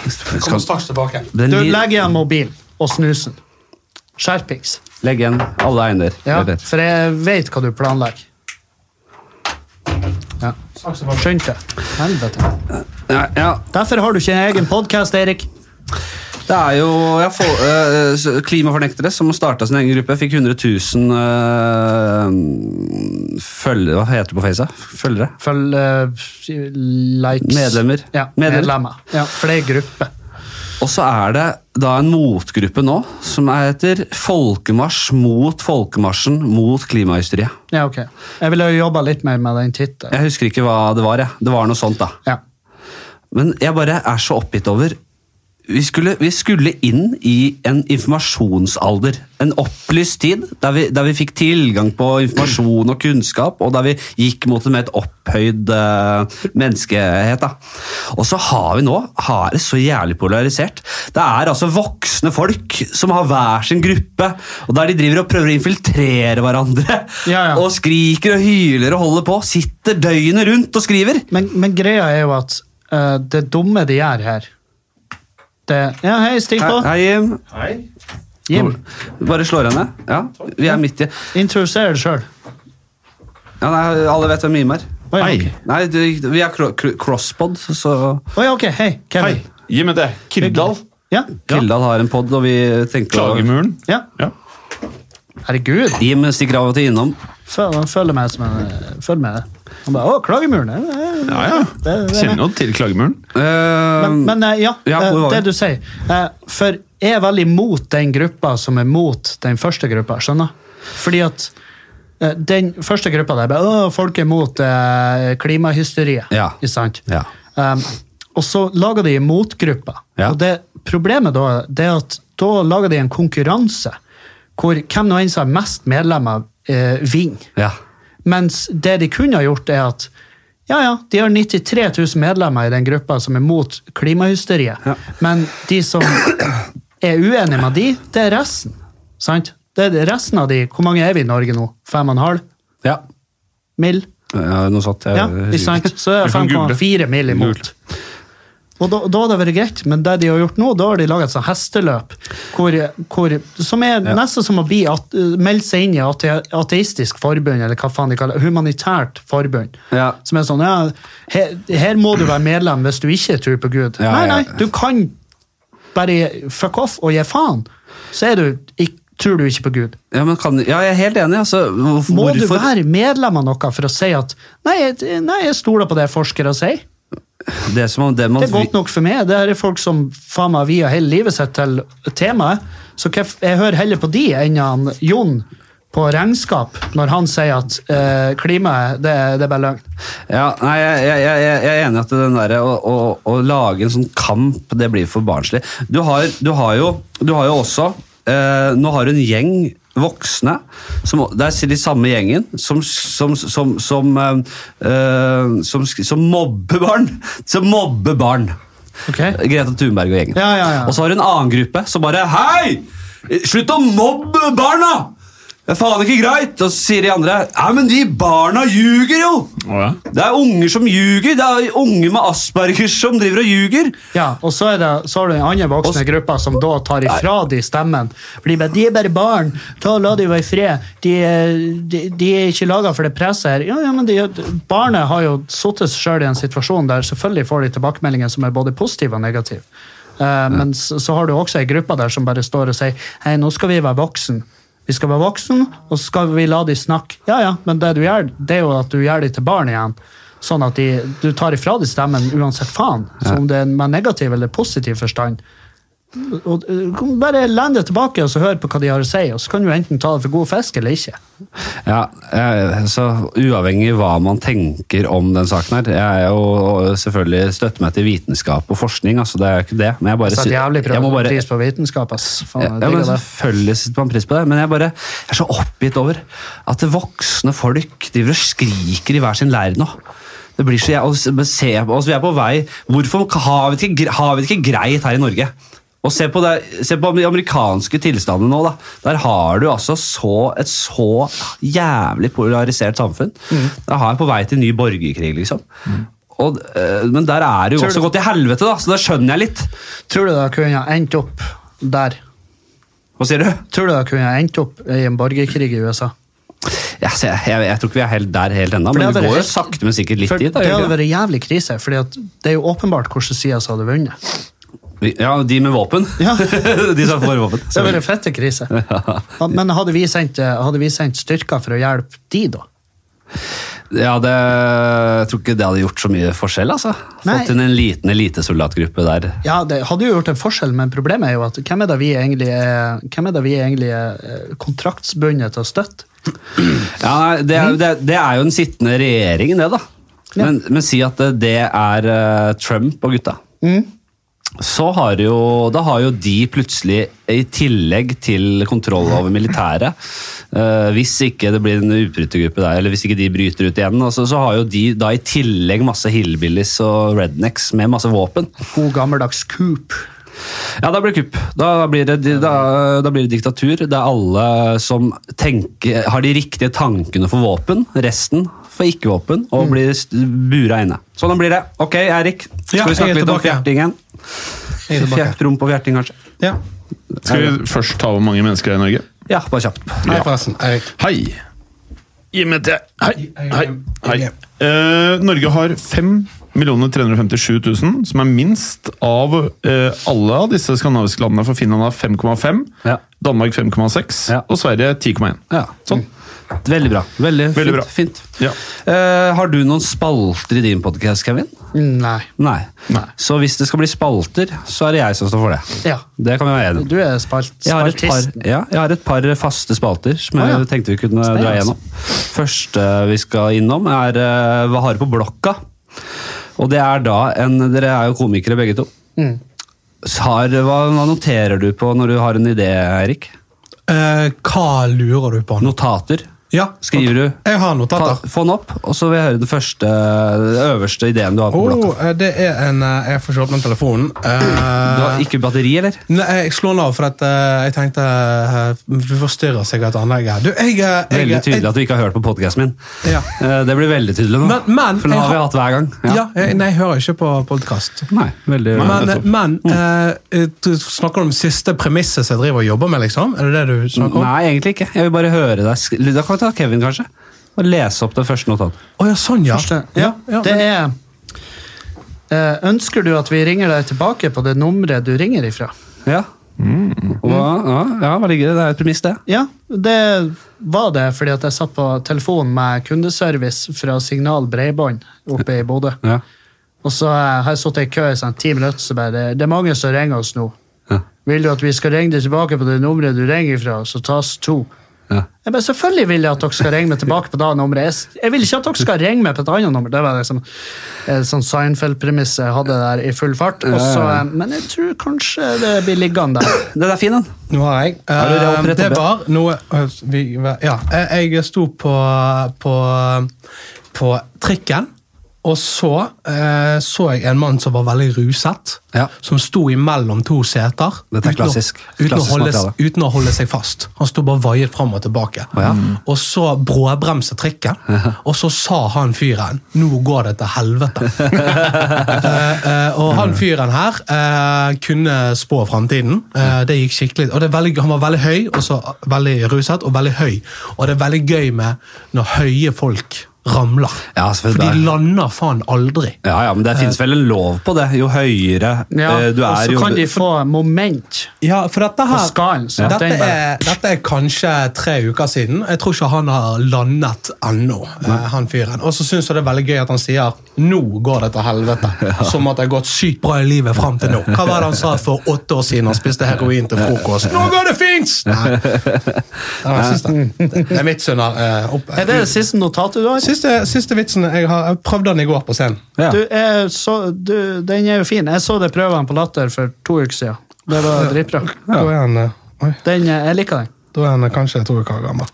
Speaker 2: Jeg kommer straks tilbake.
Speaker 1: Den
Speaker 3: Du
Speaker 1: li-
Speaker 3: legger igjen mobilen og snusen. Skjerpings.
Speaker 1: Legg igjen alle eiender.
Speaker 3: Ja,
Speaker 1: Eller-
Speaker 3: for jeg vet hva du planlegger. Ja. Skynd deg. Helvete.
Speaker 1: Ja, ja.
Speaker 3: Derfor har du ikke en egen podkast, Erik.
Speaker 1: Det er jo ja, for, eh, s- klimafornektere som starta sin egen gruppe. Fikk 100 000 eh, følgere Hva heter det på Face? Følgere?
Speaker 3: Følg eh, likes
Speaker 1: Medlemmer.
Speaker 3: Ja,
Speaker 1: Medlemmer.
Speaker 3: medlemmer. Ja, for det er gruppe.
Speaker 1: Og så er det da en motgruppe nå som heter Folkemarsj mot folkemarsjen mot klimahysteriet.
Speaker 3: Ja, ok. Jeg ville jo jobba litt mer med den tittelen.
Speaker 1: Jeg husker ikke hva det var. Jeg. Det var noe sånt, da.
Speaker 3: Ja.
Speaker 1: Men jeg bare er så oppgitt over vi skulle, vi skulle inn i en informasjonsalder. En opplyst tid der vi, der vi fikk tilgang på informasjon og kunnskap, og der vi gikk mot en mer opphøyd eh, menneskehet. Da. Og så har vi nå har det så jævlig polarisert. Det er altså voksne folk som har hver sin gruppe, og der de driver og prøver å infiltrere hverandre.
Speaker 3: Ja, ja.
Speaker 1: Og skriker og hyler og holder på. Sitter døgnet rundt og skriver.
Speaker 3: Men, men greia er jo at eh, det dumme de gjør her det, Ja, hei, stig på.
Speaker 1: Hei, hei, Jim.
Speaker 3: Jim,
Speaker 1: Bare slår henne. Ja, vi er midt i
Speaker 3: introduser deg sjøl.
Speaker 1: ja, nei, Alle vet hvem Jim er.
Speaker 3: Å ja,
Speaker 5: Hei.
Speaker 3: ok.
Speaker 1: Nei, du, vi er cro- cro- crosspod, så
Speaker 3: Å ja, ok. Hei,
Speaker 5: Hei,
Speaker 3: Kevin.
Speaker 5: gi meg det. Kirdal.
Speaker 3: Ja.
Speaker 1: Kildal har en pod, og vi tenker å-
Speaker 5: Klagemuren.
Speaker 3: ja.
Speaker 5: Ja.
Speaker 3: Herregud.
Speaker 1: Jim stikker av og til innom.
Speaker 3: Føl- Han følger meg som en Følg med. Han bare Å, klagemuren. ja, ja, ja».
Speaker 5: Ja, ja.
Speaker 3: Det- det-
Speaker 5: Kjenner jo til Klagemuren.
Speaker 1: Eh,
Speaker 3: Men, men eh, ja,
Speaker 1: Ja,
Speaker 3: eh,
Speaker 1: hvor var
Speaker 3: det
Speaker 1: vi?
Speaker 3: du sier. Eh, For jeg er veldig mot den gruppa som er mot den første gruppa. skjønner? Fordi at eh, den første gruppa der bare, «Åh, folk er mot eh, klimahysteriet.
Speaker 1: Ja.
Speaker 3: Ikke sant?
Speaker 1: Ja.
Speaker 3: Um, og så lager de motgrupper.
Speaker 1: Ja.
Speaker 3: Og det problemet da det er at da lager de en konkurranse hvor hvem nå enn som har mest medlemmer, eh, vinner.
Speaker 1: ja.
Speaker 3: Mens det de kunne ha gjort, er at ja, ja, de har 93 000 medlemmer i den gruppa som er mot klimahysteriet. Men de som er uenige med de, det er resten. Sant? Det er resten av de. Hvor mange er vi i Norge nå? Fem og en halv
Speaker 1: ja.
Speaker 3: mill?
Speaker 1: Ja, Noe sånt. jeg-
Speaker 3: Ja, ikke sant? Så er
Speaker 5: Du kan google.
Speaker 3: 5,4 mill imot. Og da, da hadde det vært greit, men det de har gjort nå, da har de laget et sånt hesteløp hvor, hvor, som er nesten som å bli at, melde seg inn i ate, ateistisk forbund, eller hva faen de kaller det, humanitært forbund.
Speaker 1: Ja.
Speaker 3: Som er sånn ja, her, her må du være medlem hvis du ikke tror på Gud.
Speaker 1: Ja,
Speaker 3: nei,
Speaker 1: ja.
Speaker 3: nei, du kan bare fuck off og gi faen. Så er du, ikk- tror du ikke på Gud.
Speaker 1: Ja, men kan, ja, jeg er helt enig. Altså, hvorfor,
Speaker 3: Må du
Speaker 1: hvorfor-
Speaker 3: være medlem av noe for å si at nei, jeg- nei jeg stoler på det forskere sier?
Speaker 1: Det er som om det man
Speaker 3: Det er godt nok for meg. Det her er folk som faen meg via hele livet sitt til temaet. Så hva f- jeg hører heller på de enn han Jon på regnskap, når han sier at eh, klimaet, det, er- det er bare løgn.
Speaker 1: Ja, nei, jeg, jeg, jeg, jeg er enig i at den der, å, å, å lage en sånn kamp, det blir for barnslig. Du har, du har, jo, du har jo også eh, Nå har du en gjeng voksne, som, det er de samme gjengen, som, som, som, som, eh, eh, som, sk- som mobber barn. Som mobber barn.
Speaker 3: Ok?
Speaker 1: Greta Thunberg og gjengen.
Speaker 3: Ja, ja, ja.
Speaker 1: Og så har du en annen gruppe som bare Hei! Slutt å mobbe barna! Det er faen ikke greit! Og så sier de andre Nei, men de barna ljuger jo!
Speaker 5: Å, ja.
Speaker 1: Det er unger som ljuger! Det er unger med aspergers som driver og ljuger!
Speaker 3: Ja, og så, er det, så har du den andre voksne gruppa som da tar ifra de stemmen. For de bare, de er bare barn, ta og la de være i fred. De, er- de, de er ikke laga for det presset her. Ja, ja, men de, Barnet har jo satt seg sjøl i en situasjon der selvfølgelig får de tilbakemeldinger som er både positive og negative. Eh, Men så, så har du også ei gruppe der som bare står og sier hei, nå skal vi være voksen. Vi skal være voksen, og så skal vi la de snakke. Ja, ja, men det du gjør, det er jo at du gjør de til barn igjen. Sånn at de, du tar ifra de stemmen uansett faen. Så om det er med negativ eller positiv forstand. Og, øh, kom bare land det tilbake og så hør på hva de har å si, og så kan du enten ta det for god fisk eller ikke.
Speaker 1: Ja, eh, så Uavhengig hva man tenker om den saken her Jeg er jo selvfølgelig støtter meg til vitenskap og forskning, altså det er jo ikke det. Men jeg bare
Speaker 3: Så
Speaker 1: sy-
Speaker 3: et jævlig
Speaker 1: jeg må
Speaker 3: prøve
Speaker 1: bare-
Speaker 3: pris på vitenskap, ass. Faen, jeg
Speaker 1: Ja, men
Speaker 3: digger det.
Speaker 1: selvfølgelig setter man pris på det, men jeg, bare, jeg er så oppgitt over at det voksne folk driver og skriker i hver sin leir nå. Det blir så, jeg, og s- men se på oss, Vi er på vei Hvorfor har vi det ikke, gre- har vi det ikke greit her i Norge? Og se på, det, se på de amerikanske tilstandene nå. da. Der har du altså så, et så jævlig polarisert samfunn.
Speaker 3: Mm.
Speaker 1: Da har jeg på vei til ny borgerkrig, liksom. Og, eh, men der er det jo
Speaker 3: Tror
Speaker 1: også
Speaker 3: du-
Speaker 1: gått til helvete, da, så det skjønner jeg litt.
Speaker 3: Tror du det kunne ha endt opp der?
Speaker 1: Hva sier du?
Speaker 3: Tror du det kunne ha endt opp i en borgerkrig i USA?
Speaker 1: Ja, så jeg, jeg, jeg tror ikke vi er helt der helt ennå,
Speaker 3: For det
Speaker 1: men vi
Speaker 3: hadde vært
Speaker 1: går jo
Speaker 3: helt-
Speaker 1: sakte, men sikkert litt
Speaker 3: For
Speaker 1: dit. Da,
Speaker 3: det
Speaker 1: gjør
Speaker 3: hadde
Speaker 1: vi ikke det?
Speaker 3: vært jævlig krise, for det er jo åpenbart hvordan sida som hadde vunnet.
Speaker 1: Vi- ja, de med våpen.
Speaker 3: Ja.
Speaker 1: de som får våpen.
Speaker 3: Det hadde vært fette krise. Ja, Men hadde vi, sendt, eh, hadde vi sendt styrker for å hjelpe de, da?
Speaker 1: Ja, det, jeg tror ikke det hadde gjort så mye forskjell, altså.
Speaker 3: Nei.
Speaker 1: Fått inn en liten elitesoldatgruppe der.
Speaker 3: Ja, det hadde jo gjort en forskjell, men problemet er jo at hvem er det vi egentlig er, hvem er, det vi egentlig er eh, kontraktsbundet til å støtte?
Speaker 1: Ja, nei, det, er, det, det er jo den sittende regjeringen, det, da.
Speaker 3: Ja.
Speaker 1: Men, men si at det- det er eh, Trump og gutta. Så har jo, da har jo de plutselig, i tillegg til kontroll over militæret eh, Hvis ikke det blir en utbrytergruppe der, eller hvis ikke de bryter ut igjen, altså, så har jo de da i tillegg masse hillbillies og rednecks med masse våpen.
Speaker 3: God gammeldags coup.
Speaker 1: Ja, da blir det kupp. Da blir det, da, da blir det diktatur. Det er alle som tenker, har de riktige tankene for våpen. Resten for ikke-våpen og
Speaker 2: Mm.
Speaker 1: blir st- bura inne. Sånn blir det. Ok, Eirik. Skal
Speaker 2: Ja,
Speaker 1: vi snakke
Speaker 2: jeg er
Speaker 1: litt om
Speaker 2: tilbake.
Speaker 1: fjertingen?
Speaker 2: Jeg er tilbake.
Speaker 1: Fjert rom på fjerting, kanskje?
Speaker 2: Ja.
Speaker 5: Skal vi først ta hvor mange mennesker det er i Norge?
Speaker 1: Ja, bare kjapt.
Speaker 2: Hei, forresten. Erik.
Speaker 5: Hei! Gi meg det. Hei, hei, hei.
Speaker 2: Hei.
Speaker 5: Eh, Norge har 5 357 000, som er minst av eh, alle av disse skandinaviske landene. For Finland har 5,5,
Speaker 1: Ja.
Speaker 5: Danmark 5,6
Speaker 1: Ja.
Speaker 5: og Sverige 10,1.
Speaker 1: Ja.
Speaker 2: Mm.
Speaker 5: Sånn.
Speaker 1: Veldig bra. Veldig,
Speaker 5: Veldig
Speaker 1: fint.
Speaker 5: bra.
Speaker 1: fint.
Speaker 5: Ja.
Speaker 1: Eh, har du noen spalter i din podkast, Kevin?
Speaker 3: Mm, Nei.
Speaker 1: Nei.
Speaker 5: Nei.
Speaker 1: Så hvis det skal bli spalter, så er det jeg som står for det.
Speaker 3: Ja.
Speaker 1: Det kan vi være enige om.
Speaker 3: Du er spalt,
Speaker 1: Jeg har, et par,
Speaker 3: spaltisten.
Speaker 1: ja, jeg har et par faste spalter som
Speaker 3: Å, ja.
Speaker 1: jeg tenkte vi kunne
Speaker 3: Spennende,
Speaker 1: dra gjennom. Første vi skal innom, er eh, Hva har du på blokka? Og det er da en Dere er jo komikere begge to.
Speaker 2: Mm.
Speaker 1: Så Har, hva, hva noterer du på når du har en idé, Eirik?
Speaker 2: Eh, hva lurer du på nå?
Speaker 1: Notater?
Speaker 2: Ja.
Speaker 1: Skriver du?
Speaker 2: Jeg har
Speaker 1: Ta,
Speaker 2: notater.
Speaker 1: få den opp, og så vil jeg høre den første, den øverste ideen du har på blokka.
Speaker 2: Oh, eh, det er en eh, Jeg får ikke åpne telefonen.
Speaker 1: Du
Speaker 2: Eh,
Speaker 1: har ikke batteri, eller?
Speaker 2: Nei, jeg slår den av, for at, eh, jeg tenkte eh, Du forstyrrer sikkert anlegget. her. Du, jeg, eh, jeg,
Speaker 1: Veldig tydelig
Speaker 2: jeg,
Speaker 1: at du ikke har hørt på podkasten min.
Speaker 2: Ja.
Speaker 1: Eh, Det blir veldig tydelig nå.
Speaker 2: Men- men-
Speaker 1: For den har
Speaker 2: jeg
Speaker 1: vi
Speaker 2: har-
Speaker 1: hatt hver gang.
Speaker 2: ja. jeg, nei, jeg hører ikke på podkast.
Speaker 1: Nei, veldig...
Speaker 5: Nei.
Speaker 2: Men,
Speaker 5: nettopp.
Speaker 2: men eh, du snakker om siste premisset som jeg driver og jobber med, liksom? Er det det du snakker om?
Speaker 1: Nei, egentlig ikke. Jeg vil bare høre deg. sk- Da kan vi ta Kevin, kanskje. Og lese opp det første notatet.
Speaker 2: Å ja, sånn, ja.
Speaker 3: Første.
Speaker 2: ja, ja
Speaker 3: det
Speaker 2: men-
Speaker 3: er eh, Ønsker du at vi ringer deg tilbake på det nummeret du ringer ifra?
Speaker 1: Ja. Og, ja, ja, hva ligger det? Det er et premiss, det.
Speaker 3: Ja, det var det, fordi at jeg satt på telefon med kundeservice fra Signal Breibånd oppe i Bodø.
Speaker 1: Ja.
Speaker 3: Og så eh, har jeg sittet i kø i sånn ti minutter, så bare Det er mange som ringer oss nå.
Speaker 1: Ja.
Speaker 3: Vil du at vi skal ringe deg tilbake på det nummeret du ringer fra, så tas to?
Speaker 1: Ja.
Speaker 3: Jeg bare, selvfølgelig vil jeg at dere skal ringe meg tilbake på det nummeret. Jeg s- Jeg vil ikke at dere skal ringe meg på et annet nummer. Det var liksom en sånn Seinfeld-premiss jeg hadde der i full fart. Og så, eh, men jeg tror kanskje det blir liggende der.
Speaker 1: Den er fin, den.
Speaker 2: Nå har jeg.
Speaker 1: Har du det
Speaker 2: Eh,
Speaker 1: opprettet,
Speaker 2: det
Speaker 1: Ben?
Speaker 2: var noe øh, vi, Ja, jeg, jeg sto på, på, på trikken, og så eh, så jeg en mann som var veldig ruset.
Speaker 1: Ja.
Speaker 2: Som sto imellom to seter.
Speaker 1: Dette er
Speaker 2: uten å-
Speaker 1: klassisk.
Speaker 2: Uten,
Speaker 1: Klassisk
Speaker 2: å, holde,
Speaker 1: materiale.
Speaker 2: uten å holde seg fast. Han sto bare vaiet fram og tilbake.
Speaker 1: ja.
Speaker 2: Og så bråbremset trikken, og så sa han fyren 'Nå går det til helvete'. Eh, eh, og han fyren her eh, kunne spå framtiden. Eh, det gikk skikkelig. Og det er veldig, han var veldig høy, og så eh, veldig ruset, og veldig høy. Og det er veldig gøy med når høye folk ramler.
Speaker 1: Ja, selvfølgelig.
Speaker 2: For de lander faen aldri.
Speaker 1: Ja, ja, men det finnes vel en lov på det. Jo høyere
Speaker 3: Ja,
Speaker 1: eh, du
Speaker 3: og
Speaker 1: er,
Speaker 3: så
Speaker 1: jo
Speaker 3: kan de få moment.
Speaker 2: Ja, for dette her
Speaker 3: På skallen, så
Speaker 2: dette,
Speaker 3: den bare-
Speaker 2: er, dette er kanskje tre uker siden. Jeg tror ikke han har landet ennå, eh, han fyren. Og så syns jeg det er veldig gøy at han sier 'nå går det til helvete'. Som at det har gått sykt bra i livet fram til nå. Hva var det han sa for åtte år siden? Han spiste heroin til frokost. 'Nå går det fint!' Nei. Ja, jeg synes det. det er mitt syn her. eh, opp-
Speaker 3: Er det det siste notatet du har?
Speaker 2: Siste, siste vitsen jeg har Jeg prøvde den i går på scenen.
Speaker 1: ja.
Speaker 3: Du, jeg så, du, den er jo fin. Jeg så det prøven på Latter for to uker siden. Det var dritbra.
Speaker 2: Da er han, eh, oi,
Speaker 3: Den, eh, jeg liker den.
Speaker 2: da er han eh, kanskje to uker gammel.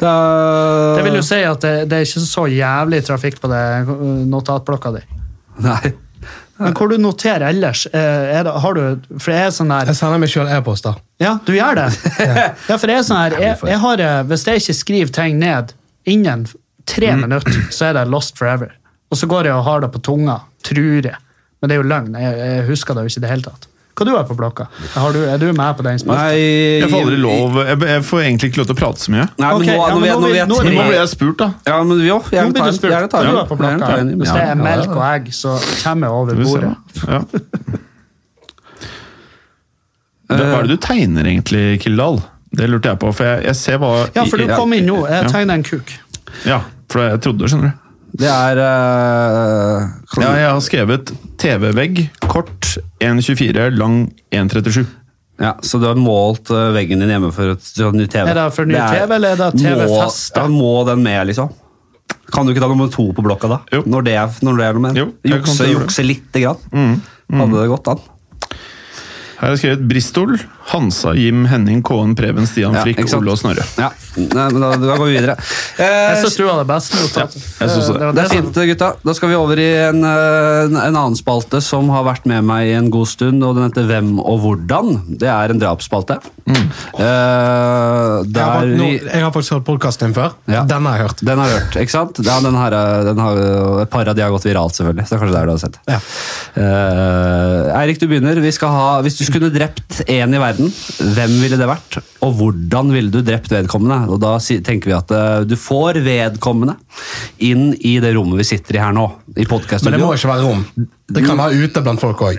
Speaker 3: Det vil jo si at det, det er ikke så jævlig trafikk på det eh, notatblokka di.
Speaker 1: Nei.
Speaker 3: Men hvor du noterer ellers? eh, Er det, har du, for jeg er sånn der
Speaker 2: Jeg sender meg sjøl e-poster.
Speaker 3: Ja, du gjør det. ja, for jeg er sånn her, jeg, jeg har, eh, Hvis jeg ikke skriver ting ned innen tre
Speaker 1: Mm.
Speaker 3: minutter, så er det lost forever. Og så går jeg og har det på tunga, tror jeg. Men det er jo løgn. Jeg, jeg husker det jo ikke i det hele tatt. Hva du har på blokka? Har du, er du med på den spalten?
Speaker 1: Nei
Speaker 5: Jeg får aldri lov Jeg, jeg får egentlig ikke lov til å prate så mye.
Speaker 1: Nei, men nå,
Speaker 3: Ok, ja,
Speaker 1: nå,
Speaker 3: men nå
Speaker 1: nå,
Speaker 3: vil- nå
Speaker 1: nå vi
Speaker 3: er det
Speaker 5: Men Nå
Speaker 1: er
Speaker 5: ble
Speaker 1: tre
Speaker 5: jeg spurt, da.
Speaker 1: Ja, men jo,
Speaker 3: Nå
Speaker 1: gjerne
Speaker 3: blir
Speaker 1: ta
Speaker 3: du
Speaker 1: en.
Speaker 3: spurt.
Speaker 1: Gjerne ta
Speaker 3: Hva
Speaker 1: en.
Speaker 3: du har på blokka?
Speaker 1: Gjerne ta en.
Speaker 3: Hvis det
Speaker 1: Ja.
Speaker 3: er melk og egg, så kommer jeg over
Speaker 5: Skal vi se,
Speaker 3: bordet.
Speaker 5: da. Ja. Hva hva
Speaker 1: Eh,
Speaker 5: er det du tegner egentlig, Kildahl? Det lurte jeg på, for jeg, jeg ser hva
Speaker 3: Ja, for du
Speaker 5: jeg-
Speaker 3: kom inn nå. Jeg
Speaker 5: Ja.
Speaker 3: tegner en kuk.
Speaker 5: Ja, for jeg trodde det, skjønner du.
Speaker 1: Det er eh,
Speaker 5: Ja, jeg har skrevet TV-vegg, kort, 1,24, lang, 1,37.
Speaker 1: Ja, Så du har målt eh, veggen din hjemme for et for en ny TV?
Speaker 3: Er det for ny TV, eller er det TV-fest,
Speaker 1: Må, ja, må den med, liksom? Kan du ikke ta nummer to på blokka, da?
Speaker 5: Jo.
Speaker 1: Når det er, når det er noe med?
Speaker 5: Jo, jeg kan Mm,
Speaker 1: jukse,
Speaker 5: gjøre det.
Speaker 1: jukse lite grann? Hadde det gått an?
Speaker 5: Her har jeg skrevet Bristol, Hansa, Jim, Henning, Kåen, Preben, Stian,
Speaker 1: Ja,
Speaker 5: Frikk,
Speaker 1: ikke sant?
Speaker 5: Ole og Snorre.
Speaker 1: Ja, Nei, men da, da går vi videre. Eh,
Speaker 3: Jeg syns du hadde best notat.
Speaker 5: jeg synes det.
Speaker 3: var
Speaker 1: Det er
Speaker 3: som-
Speaker 1: fint, gutta. Da skal vi over i en, eh, en annen spalte som har vært med meg i en god stund, og den heter Hvem og hvordan. Det er en drapsspalte.
Speaker 5: Mm.
Speaker 1: Eh,
Speaker 2: Jeg
Speaker 1: der
Speaker 2: har, fakt- nå,
Speaker 1: vi
Speaker 2: jeg har faktisk hørt podkasten din før.
Speaker 1: Ja.
Speaker 2: Den har jeg hørt.
Speaker 1: Den har jeg hørt, ikke sant? Ja, den her, er- den har, et par av de har gått viralt, selvfølgelig. Så det er kanskje der du har sett.
Speaker 2: Ja.
Speaker 1: Eh, Eirik, du begynner. Vi skal ha, hvis du skulle drept én i verden, hvem ville det vært? Og hvordan ville du drept vedkommende? Og da si- tenker vi at eh, du får vedkommende inn i det rommet vi sitter i her nå. I
Speaker 2: Men det må
Speaker 1: podcaststudioet.
Speaker 2: ikke være rom. Det kan være ute blant folk òg.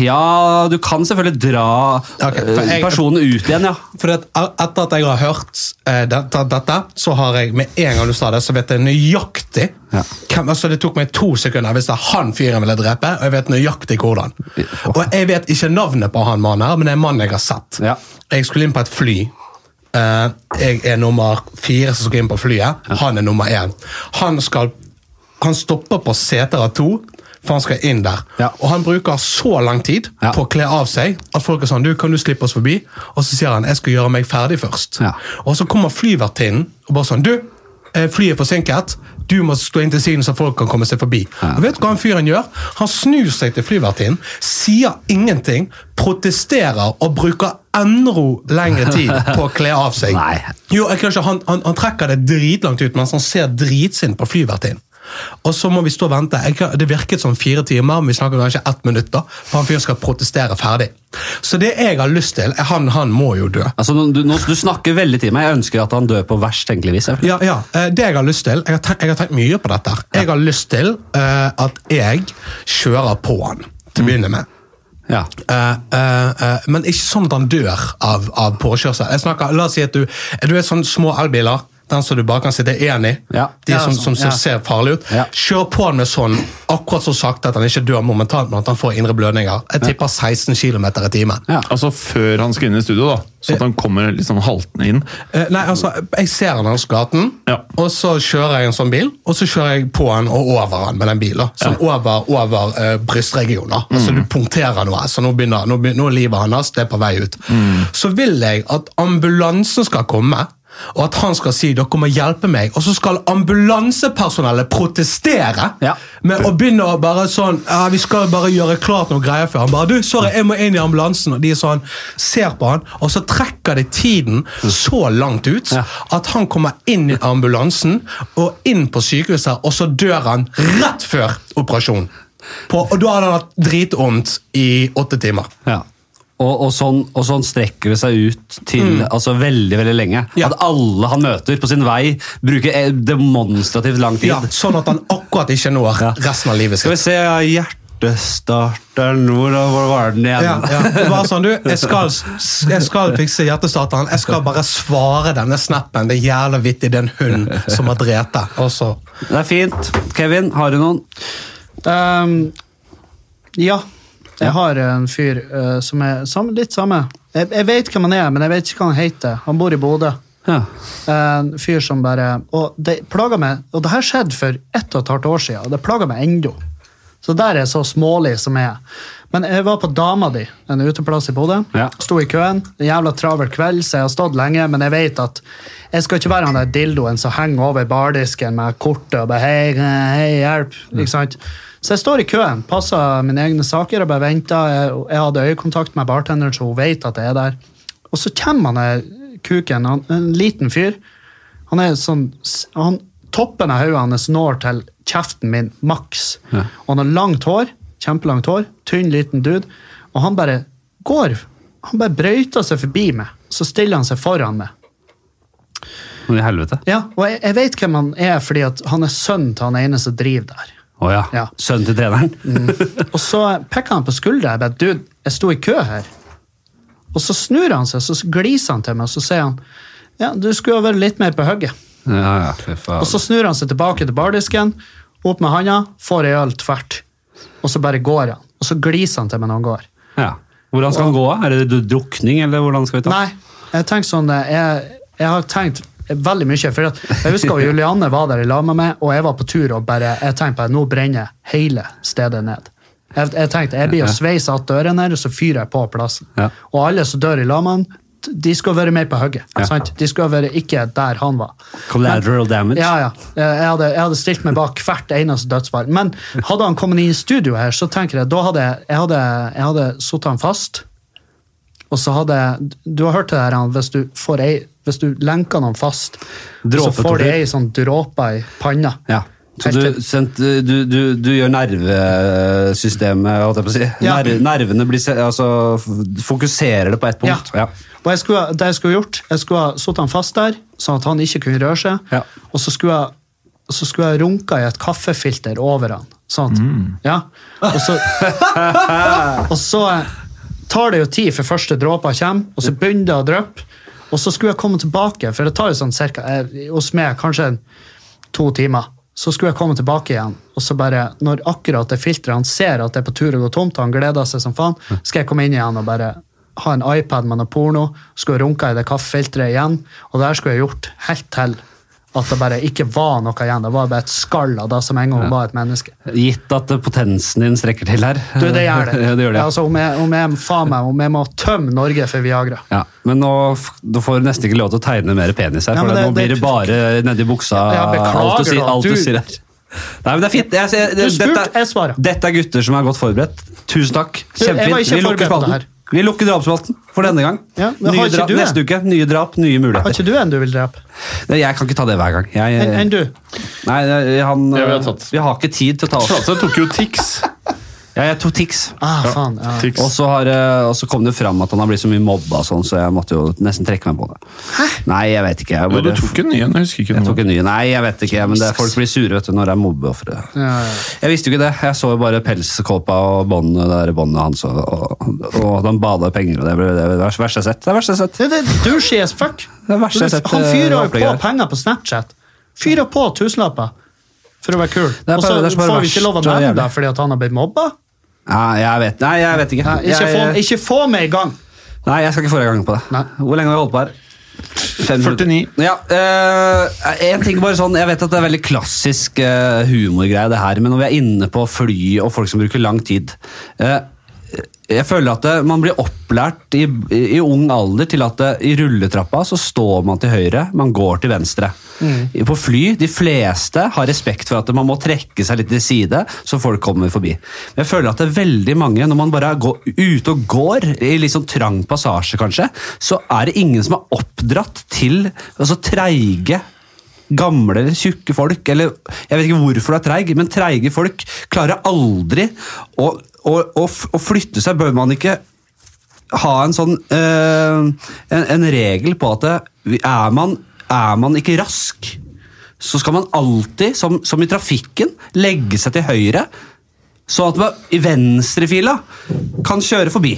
Speaker 1: Ja, du kan selvfølgelig dra
Speaker 2: Ok, for
Speaker 1: eh,
Speaker 2: jeg-
Speaker 1: personen ut igjen, ja.
Speaker 2: For at e- etter at jeg har hørt eh, dette, dette, så har jeg med en gang du sa det, så vet jeg nøyaktig
Speaker 1: Ja.
Speaker 2: hvem, altså Det tok meg to sekunder hvis det er han fyren ville drepe, og jeg vet nøyaktig hvordan. Og jeg vet ikke navnet på han mannen her, men det er en mann jeg har sett.
Speaker 1: Ja.
Speaker 2: Jeg skulle inn på et fly. Eh, jeg er nummer fire som skal inn på flyet. Han er nummer én. Han skal Han stopper på seter av to, for han skal inn der.
Speaker 1: Ja.
Speaker 2: Og han bruker så lang tid
Speaker 1: Ja.
Speaker 2: på å kle av seg at folk er sånn du, 'Kan du slippe oss forbi?' Og så sier han 'Jeg skal gjøre meg ferdig først'.
Speaker 1: Ja.
Speaker 2: Og så kommer flyvertinnen og bare sånn 'Du, eh, flyet er forsinket. Du må stå inn til siden så folk kan komme seg forbi'. Og vet du hva han fyren gjør? Han snur seg til flyvertinnen, sier ingenting, protesterer og bruker enda lengre tid på å kle av seg.
Speaker 1: Nei.
Speaker 2: Jo, jeg kan ikke, han, han, han trekker det dritlangt ut mens han ser dritsint på flyvertinnen. Og så må vi stå og vente. Jeg, kan- det virket som fire timer, men vi snakker kanskje ett minutt. da, For han fyren skal protestere ferdig. Så det jeg har lyst til Han, han må jo dø.
Speaker 1: Altså, nå- du, nå, du snakker veldig til meg. Jeg ønsker at han dør på verst tenkelig vis. selvfølgelig.
Speaker 2: Ja, ja. eh, Det jeg har lyst til Jeg har tenkt, jeg har tenkt mye på dette. her. Jeg har lyst til eh, at jeg kjører på han
Speaker 3: Mm.
Speaker 2: til å begynne med.
Speaker 1: Ja.
Speaker 2: Eh, eh, eh, men ikke sånn at han dør av, av påkjørsel. Jeg snakker, la oss si at du, du er sånn små elbiler. Den som du bare kan sitte én i.
Speaker 1: Ja.
Speaker 2: De
Speaker 3: Ja,
Speaker 2: som,
Speaker 3: sånn,
Speaker 2: som, som
Speaker 3: ja.
Speaker 2: ser farlige ut.
Speaker 1: Ja.
Speaker 2: Kjør på med sånn akkurat så sakte at han ikke dør momentant, men at han får indre blødninger. Jeg tipper 16 km i timen.
Speaker 1: Ja.
Speaker 5: Altså før han skal inn i studio, da. Så at han kommer litt sånn haltende inn.
Speaker 2: Eh, nei, altså, Jeg ser han langs gaten,
Speaker 5: Ja.
Speaker 2: og så kjører jeg en sånn bil. Og så kjører jeg på han og over han med den bilen. Sånn over, over eh, brystregionen. Altså, du punkterer noe, så nå begynner, nå begynner nå er livet hans det er på vei ut. Så vil jeg at ambulansen skal komme. Og at han skal si 'dere må hjelpe meg', og så skal ambulansepersonellet protestere
Speaker 1: Ja.
Speaker 2: med å begynne å bare sånn ja, 'Vi skal bare gjøre klart noen greier før han bare 'Du, sorry, jeg må inn i ambulansen.' Og de er sånn, ser på han, og så trekker de tiden så langt ut
Speaker 1: Ja.
Speaker 2: at han kommer inn i ambulansen og inn på sykehuset, og så dør han rett før operasjonen. På, og da hadde han hatt dritvondt i åtte timer.
Speaker 1: Ja. Og, og, sånn, og sånn strekker det seg ut til altså, veldig veldig lenge.
Speaker 2: Ja.
Speaker 1: At alle han møter på sin vei, bruker eh, demonstrativt lang tid.
Speaker 2: Ja, sånn at han akkurat ikke når
Speaker 1: Ja.
Speaker 2: resten av livet sitt.
Speaker 1: Skal vi se ja, Hjertestarteren Hvor, hvor var den igjen?
Speaker 2: Ja, ja. Det var sånn, du, jeg skal, jeg skal fikse hjertestarteren. Jeg skal bare svare denne snappen. Det er jævla vittig, den hunden som har drept deg. Og så
Speaker 1: Det er fint. Kevin, har du noen?
Speaker 3: Ehm, ja. Jeg har en fyr eh, som er sam, litt samme. Jeg, jeg vet hvem han er, men jeg vet ikke hva han heter. Han bor i Bodø.
Speaker 1: Ja.
Speaker 3: En fyr som bare Og det plager meg, og det her skjedde for ett og et halvt år siden, og det plager meg ennå. Så der er jeg så smålig som jeg er. Men jeg var på Dama di, en uteplass i Bodø.
Speaker 1: Ja.
Speaker 3: Sto i køen. En jævla travel kveld, så jeg har stått lenge, men jeg vet at jeg skal ikke være han der dildoen som henger over bardisken med kortet og bare hei, eh, hei, hjelp. Ikke sant? Så jeg står i køen, passer mine egne saker og bare venter. Jeg, jeg hadde øyekontakt med bartenderen, så hun vet at jeg er der. Og så kommer han der kuken, han, en liten fyr. Han er sånn han, Toppen av hodet hans når til kjeften min, maks. Og han har langt hår, kjempelangt hår, tynn, liten dude. Og han bare går. Han bare brøyter seg forbi meg, så stiller han seg foran meg.
Speaker 1: Men i helvete.
Speaker 3: Ja, Og jeg, jeg vet hvem han er, fordi at han er sønnen til han ene som driver der.
Speaker 1: Å ja. Mm.
Speaker 3: Ja.
Speaker 1: Sønnen til treneren?
Speaker 3: Og så peker han på skuldra. Jeg bare, dude, jeg sto i kø her. Og så snur han seg, så gliser han til meg, og så sier han ja, du skulle jo vært litt mer på hugget.
Speaker 1: Ja, ja, fy faen.
Speaker 3: Og så snur han seg tilbake til bardisken, opp med handa, får ei øl tvert. Og så bare går han. Og så gliser han til meg når han går.
Speaker 1: ja. Hvordan skal han gå? av? Er det du- drukning, eller hvordan skal vi ta
Speaker 3: Nei, jeg tenker sånn, eh, jeg, jeg har tenkt veldig mye, for at jeg husker at Julianne var der i lag med meg, og jeg var på tur og bare, jeg tenkte bare, nå brenner hele stedet ned. Jeg, jeg tenkte, jeg blir å sveise av døren her, og så fyrer jeg på plassen.
Speaker 1: Ja.
Speaker 3: Og alle som dør i lag med han, de skal være med på hugget.
Speaker 1: Ja.
Speaker 3: sant? De skal være ikke der han var.
Speaker 1: Collateral damage?
Speaker 3: Ja, ja. Jeg hadde, jeg hadde stilt meg bak hvert eneste dødsfall. Men hadde han kommet inn i studio her, så tenker jeg, da hadde jeg, jeg hadde, jeg hadde satt han fast. Og så hadde jeg, Du har hørt det her, han, hvis du, får ei, hvis du lenker noen fast, så får de
Speaker 1: Dråpetortur.
Speaker 3: ei sånn dråpe i panna.
Speaker 1: Ja. Så
Speaker 3: Helt
Speaker 1: du,
Speaker 3: til-
Speaker 1: sendt, eh, du, du, du gjør nervesystemet holdt jeg på å si.
Speaker 3: Ja.
Speaker 1: Ner, Nervene blir, se- altså, f- fokuserer det på ett punkt. Ja.
Speaker 3: Og jeg skulle, det jeg skulle gjort, jeg skulle ha satt han fast der, sånn at han ikke kunne røre seg.
Speaker 1: Ja.
Speaker 3: Og så skulle, jeg, så skulle jeg runka i et kaffefilter over han. Sånn at,
Speaker 1: Mm.
Speaker 3: ja. Og så, og så eh, tar det jo tid før første dråpa kommer, og så begynner det å dryppe. Og så skulle jeg komme tilbake, for det tar jo sånn cirka, eh, hos meg kanskje en to timer. Så skulle jeg komme tilbake igjen, og så bare, når akkurat det filteret han ser at det er på tur å gå tomt, han gleder seg som faen, skal jeg komme inn igjen og bare ha en iPad med noe porno, skulle runke i det kaffefilteret igjen, og det her skulle jeg gjort helt til at det bare ikke var noe igjen. Det var bare et skall av det som en gang var et menneske.
Speaker 1: Gitt at eh, potensen din strekker til her.
Speaker 3: Du, det gjør det.
Speaker 1: ja, det, gjør det. ja.
Speaker 3: Altså, om jeg, om jeg, faen meg, om jeg må tømme Norge for Viagra.
Speaker 1: Ja, men nå, f- nå får du nesten ikke lov til å tegne mer penis her,
Speaker 3: Ja,
Speaker 1: for
Speaker 3: men det-
Speaker 1: nå blir det
Speaker 3: det-
Speaker 1: bare nedi buksa.
Speaker 3: Ja, jeg beklager
Speaker 1: alt du sier,
Speaker 3: da,
Speaker 1: alt du...
Speaker 3: du-
Speaker 1: sier her. Nei, men det er fint. Jeg, jeg,
Speaker 3: Du spurte,
Speaker 1: dette,
Speaker 3: jeg svarer.
Speaker 1: Dette er gutter som er godt forberedt. Tusen takk.
Speaker 3: Du, jeg var
Speaker 1: Kjempefint. Vi
Speaker 3: ikke forberedt på
Speaker 1: lukker
Speaker 3: det her.
Speaker 1: spalten. Vi lukker drapsspalten for denne gang.
Speaker 3: Ja, men har
Speaker 1: nye
Speaker 3: ikke
Speaker 1: drap,
Speaker 3: du en?
Speaker 1: neste uke, nye drap, nye
Speaker 3: Har
Speaker 1: muligheter.
Speaker 3: ikke du en du vil drepe?
Speaker 1: Nei, Jeg kan ikke ta det hver gang. Jeg,
Speaker 3: Enn enn du?
Speaker 1: Nei, han, eh,
Speaker 5: Jeg vil ha tatt.
Speaker 1: Vi har ikke tid til å ta oss.
Speaker 5: Flatstad tok jo Tix.
Speaker 1: Ja, jeg tok Tix.
Speaker 3: Ah, faen. Ja.
Speaker 5: Tix.
Speaker 1: Og så, har, eh, og så kom det fram at han har blitt så mye mobba, og sånn, så jeg måtte jo nesten trekke meg på det. Nei, jeg vet ikke. Jeg,
Speaker 5: Jo, du
Speaker 1: bare,
Speaker 5: tok en ny en, jeg husker ikke
Speaker 1: jeg tok
Speaker 5: noe.
Speaker 1: en ny. Nei, jeg vet ikke, men det, folk blir sure vet du, når det er mobbeofre.
Speaker 3: Ja, ja.
Speaker 1: Jeg visste jo ikke det. Jeg så jo bare pelskåpa og båndet det der båndet hans, og, og, og at han bada i penger, og det ble det, var det verste jeg har sett. Det er det verste jeg har sett.
Speaker 3: Det er det douchey as fuck.
Speaker 1: Det er verste jeg har sett,
Speaker 3: Han fyrer
Speaker 1: eh,
Speaker 3: jo på
Speaker 1: opplegget der.
Speaker 3: penger på Snapchat. Fyrer på tusenlapper for å være kul.
Speaker 1: er
Speaker 3: Og så
Speaker 1: bare- det er bare
Speaker 3: får vi
Speaker 1: verst.
Speaker 3: ikke lov å
Speaker 1: Det er
Speaker 3: nevne
Speaker 1: jævlig.
Speaker 3: det fordi at han har blitt mobba.
Speaker 1: Nei, jeg vet, nei, jeg vet ikke.
Speaker 3: Nei, Ikke,
Speaker 1: jeg,
Speaker 3: få, ikke få meg i gang!
Speaker 1: Nei, jeg skal ikke forrige gang på det.
Speaker 3: Nei.
Speaker 1: Hvor lenge har vi holdt på her? Fem
Speaker 5: 49.
Speaker 1: minutter. Ja, eh, en ting bare sånn, Jeg vet at det er veldig klassisk eh, humorgreie, det her, men når vi er inne på fly og folk som bruker lang tid eh, Jeg føler at det, man blir opplært i, i, i ung alder til at det, i rulletrappa så står man til høyre, man går til venstre. På fly, de fleste har respekt for at man må trekke seg litt til side, så folk kommer forbi. Men jeg føler at det er veldig mange, når man bare er gå- ute og går, i litt sånn trang passasje kanskje, så er det ingen som er oppdratt til altså treige Gamle eller tjukke folk, eller jeg vet ikke hvorfor du er treig, men treige folk klarer aldri å, å, å, f- å flytte seg. Bør man ikke ha en sånn eh, en, en regel på at det, er, man, er man ikke rask, så skal man alltid, som, som i trafikken, legge seg til høyre, sånn at man i venstrefila kan kjøre forbi.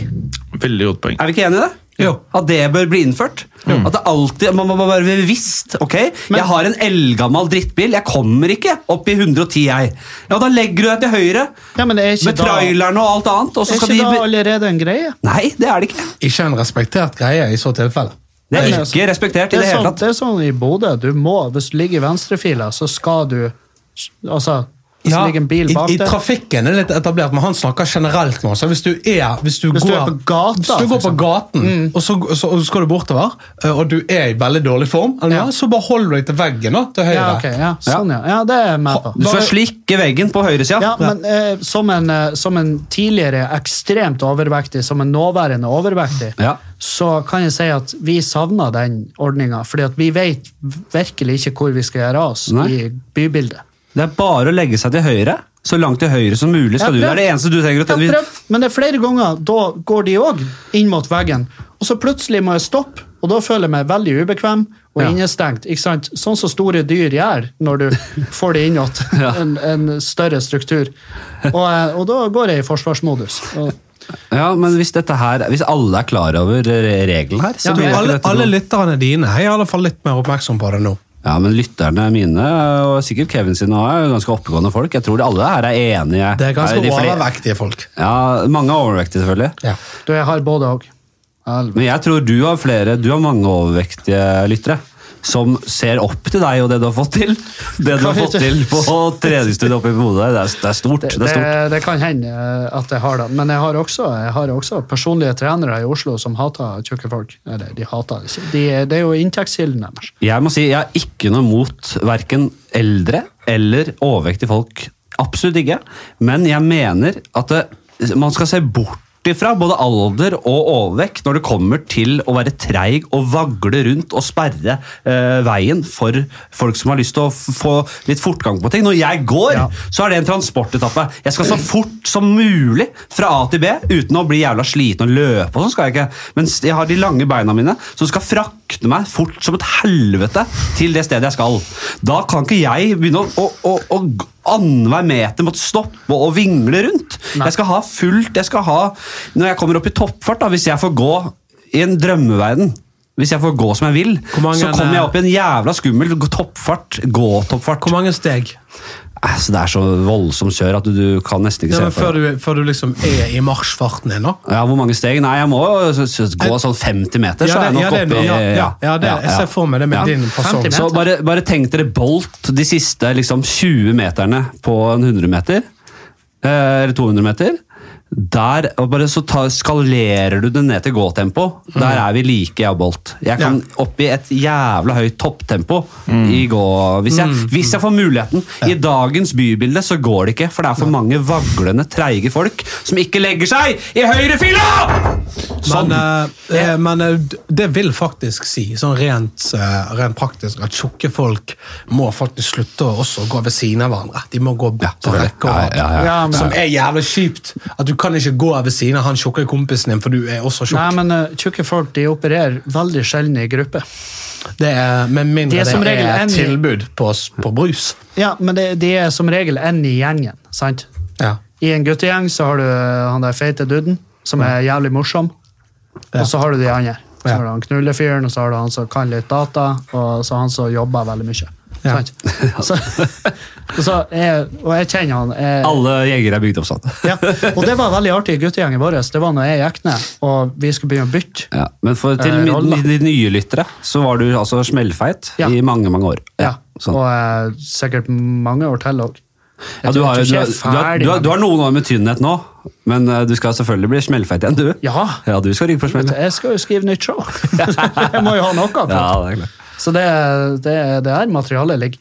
Speaker 5: Veldig godt poeng.
Speaker 1: Er vi ikke enige i det?
Speaker 2: Jo.
Speaker 1: At det bør bli innført? At det alltid, Man må bare være bevisst. ok? jeg har en eldgammel drittbil, jeg kommer ikke opp i 110, jeg. Ja, Da legger du deg til høyre
Speaker 3: Ja, men er ikke
Speaker 1: med
Speaker 3: da, er
Speaker 1: trailerne og alt annet. og så skal
Speaker 3: ikke
Speaker 1: de...
Speaker 3: da
Speaker 1: be-
Speaker 3: allerede en greie?
Speaker 1: Nei, det er det ikke.
Speaker 2: Ikke en respektert greie i så tilfelle.
Speaker 1: Det
Speaker 3: Nei,
Speaker 1: er
Speaker 3: altså,
Speaker 1: ikke respektert i
Speaker 3: Det er,
Speaker 1: det hele
Speaker 3: sånn,
Speaker 1: tatt.
Speaker 3: det er sånn i Bodø. Du må, hvis du ligger i venstrefila, så skal du Altså, hvis det ligger en bil
Speaker 2: i,
Speaker 3: bak
Speaker 2: i
Speaker 3: deg
Speaker 2: trafikken er det litt etablert, men han snakker generelt nå. Så hvis du er, hvis du
Speaker 3: Hvis
Speaker 2: går,
Speaker 3: du er på gata,
Speaker 2: hvis du
Speaker 3: for Mm.
Speaker 2: går på gaten og så, så, og så skal du bortover, eh, og du er i veldig dårlig form, eller,
Speaker 3: Ja.
Speaker 2: noe, så bare hold deg til veggen da, til høyre.
Speaker 3: ja, ok, ja, sånn, ja. ja, det er jeg med på.
Speaker 1: Du skal slikke veggen på høyresida.
Speaker 3: Ja, men eh, som, en, eh, som en tidligere ekstremt overvektig, som en nåværende overvektig,
Speaker 1: Ja.
Speaker 3: så kan jeg si at vi savner den ordninga. fordi at vi vet virkelig ikke hvor vi skal gjøre av oss
Speaker 1: Nei.
Speaker 3: i bybildet.
Speaker 1: Det er bare å legge seg til høyre. Så langt til høyre som mulig skal du. Det
Speaker 3: Jeg har
Speaker 1: er det eneste du trenger å
Speaker 3: prøvd. Jeg har
Speaker 1: tenke.
Speaker 3: prøvd, Men det er flere ganger da går de òg inn mot veggen, og så plutselig må jeg stoppe. Og da føler jeg meg veldig ubekvem og
Speaker 1: Ja.
Speaker 3: innestengt. ikke sant? Sånn som store dyr gjør når du får det innåt.
Speaker 1: Ja.
Speaker 3: En, en større struktur. Og, eh, og da går jeg i forsvarsmodus. Og,
Speaker 1: Ja, men hvis, dette her, hvis alle er klar over eh, regelen her, så
Speaker 3: Ja,
Speaker 1: blir
Speaker 3: men
Speaker 1: ikke
Speaker 2: Alle,
Speaker 1: dette noe-
Speaker 2: alle lytterne dine er i alle fall litt mer oppmerksom på det nå.
Speaker 1: Ja, men lytterne mine, og sikkert Kevin sine, også, er jo ganske oppegående folk. Jeg tror alle her er enige.
Speaker 2: Det er ganske
Speaker 1: de flere-
Speaker 2: overvektige folk.
Speaker 1: Ja, mange er overvektige selvfølgelig.
Speaker 2: Ja.
Speaker 3: Du, jeg har både òg.
Speaker 1: Men jeg tror du har flere, du har mange overvektige lyttere. Som ser opp til deg og det du har fått til. Det du har fått til på treningsstudiet oppe i Bodø. Det, er- det er stort.
Speaker 3: Det,
Speaker 1: Det er stort.
Speaker 3: det kan hende eh, at jeg har det, men jeg har også, jeg har også personlige trenere i Oslo som hater tjukke folk. Eller, de hater det ikke. De, det er jo inntektskilden deres.
Speaker 1: Jeg må si, jeg har ikke noe mot verken eldre eller overvektige folk. Absolutt ikke. Men jeg mener at det, man skal se bort ifra både alder og overvekt når det kommer til å være treig og vagle rundt og sperre eh, veien for folk som har lyst til å f- få litt fortgang på ting. Når jeg går, så er det en transportetappe. Jeg skal så fort som mulig fra A til B uten å bli jævla sliten og løpe. og sånn skal jeg ikke. Mens jeg har de lange beina mine som skal frakte meg fort som et helvete til det stedet jeg skal. Da kan ikke jeg begynne å, å, å, å g- annenhver meter måtte stoppe og vingle rundt. Jeg skal ha fullt, jeg skal ha Når jeg kommer opp i toppfart, da, hvis jeg får gå i en drømmeverden hvis jeg får gå som jeg vil,
Speaker 2: Hvor mange
Speaker 1: så
Speaker 2: er det-
Speaker 1: kommer jeg opp i en jævla skummel g- toppfart. Gå-toppfart.
Speaker 2: Hvor mange steg?
Speaker 1: Altså, det er så voldsomt kjør at du, du kan nesten ikke
Speaker 2: Ja, men
Speaker 1: se på
Speaker 2: før,
Speaker 1: det.
Speaker 2: du, før du liksom er i marsjfarten din, da.
Speaker 1: Ja, Hvor mange steg? Nei, jeg må jo s- s- gå sånn 50 meter, så er jeg
Speaker 2: det-
Speaker 1: nok
Speaker 2: ja, det er
Speaker 1: oppe
Speaker 2: noe.
Speaker 1: i
Speaker 2: ja, ja, ja, det, jeg ser for meg det med
Speaker 1: Ja.
Speaker 2: din fasong.
Speaker 3: 50
Speaker 1: Så
Speaker 3: meter.
Speaker 1: bare, bare tenk dere Bolt de siste liksom, 20 meterne på en 100 meter. eh, Eller 200 meter. Der og bare så ta, skalerer du det ned til gåtempo. Der er vi like, jeg og Bolt. Jeg kan opp i et jævla høyt topptempo i gå... Hvis jeg, hvis jeg får muligheten. I dagens bybilde så går det ikke, for det er for mange vaglende, treige folk som ikke legger seg i høyrefila! Sånn.
Speaker 2: Men, eh, eh, men eh, d- det vil faktisk si, sånn rent, eh, rent praktisk, at tjukke folk må faktisk slutte å også gå ved siden av hverandre. De må gå bort på rekke og rad.
Speaker 1: Ja, ja,
Speaker 3: ja, men-
Speaker 2: Som er jævlig kjipt. At du kan ikke gå ved siden av han tjukke kompisen din, for du er også
Speaker 3: Nei,
Speaker 2: tjukk.
Speaker 3: men eh, tjukke folk de opererer veldig sjelden i gruppe.
Speaker 2: Det er med mindre
Speaker 3: De er
Speaker 2: det
Speaker 3: som
Speaker 2: er,
Speaker 3: regel en-
Speaker 2: tilbud på, s- på brus.
Speaker 3: Ja, men det, de er som regel en i gjengen. sant?
Speaker 2: Ja.
Speaker 3: I en guttegjeng så har du eh, han der feite duden, som er jævlig morsom.
Speaker 2: Ja.
Speaker 3: Og så har du de andre. Så
Speaker 2: Ja.
Speaker 3: har du han knullefyren, og så har du han som kan litt data, og så han som jobber veldig mye.
Speaker 2: Ja.
Speaker 3: Sant? Så, og, så jeg, og jeg kjenner han. Jeg,
Speaker 1: Alle jegere er bygd opp sånn.
Speaker 3: ja. Og det var veldig artig i guttegjengen vår. Det var når jeg gikk ned, og vi skulle begynne å bytte.
Speaker 1: Ja, men for, til
Speaker 3: Eh,
Speaker 1: min-
Speaker 3: roll, da.
Speaker 1: de nye lyttere så var du altså smellfeit
Speaker 3: Ja.
Speaker 1: i mange mange år.
Speaker 3: Ja,
Speaker 1: sånn.
Speaker 3: Og eh, sikkert mange år til òg.
Speaker 1: ja, du, har, jo- du, har, du, har, du, har, du har noen år med tynnhet nå, men eh, du skal selvfølgelig bli smellfeit igjen, du.
Speaker 3: Ja.
Speaker 1: ja du skal ryke på smell.
Speaker 3: Jeg skal jo skrive nytt show. jeg må jo ha noe.
Speaker 1: Ja,
Speaker 3: Ja.
Speaker 1: det er klart.
Speaker 3: Så det, det, det er materialet ligger.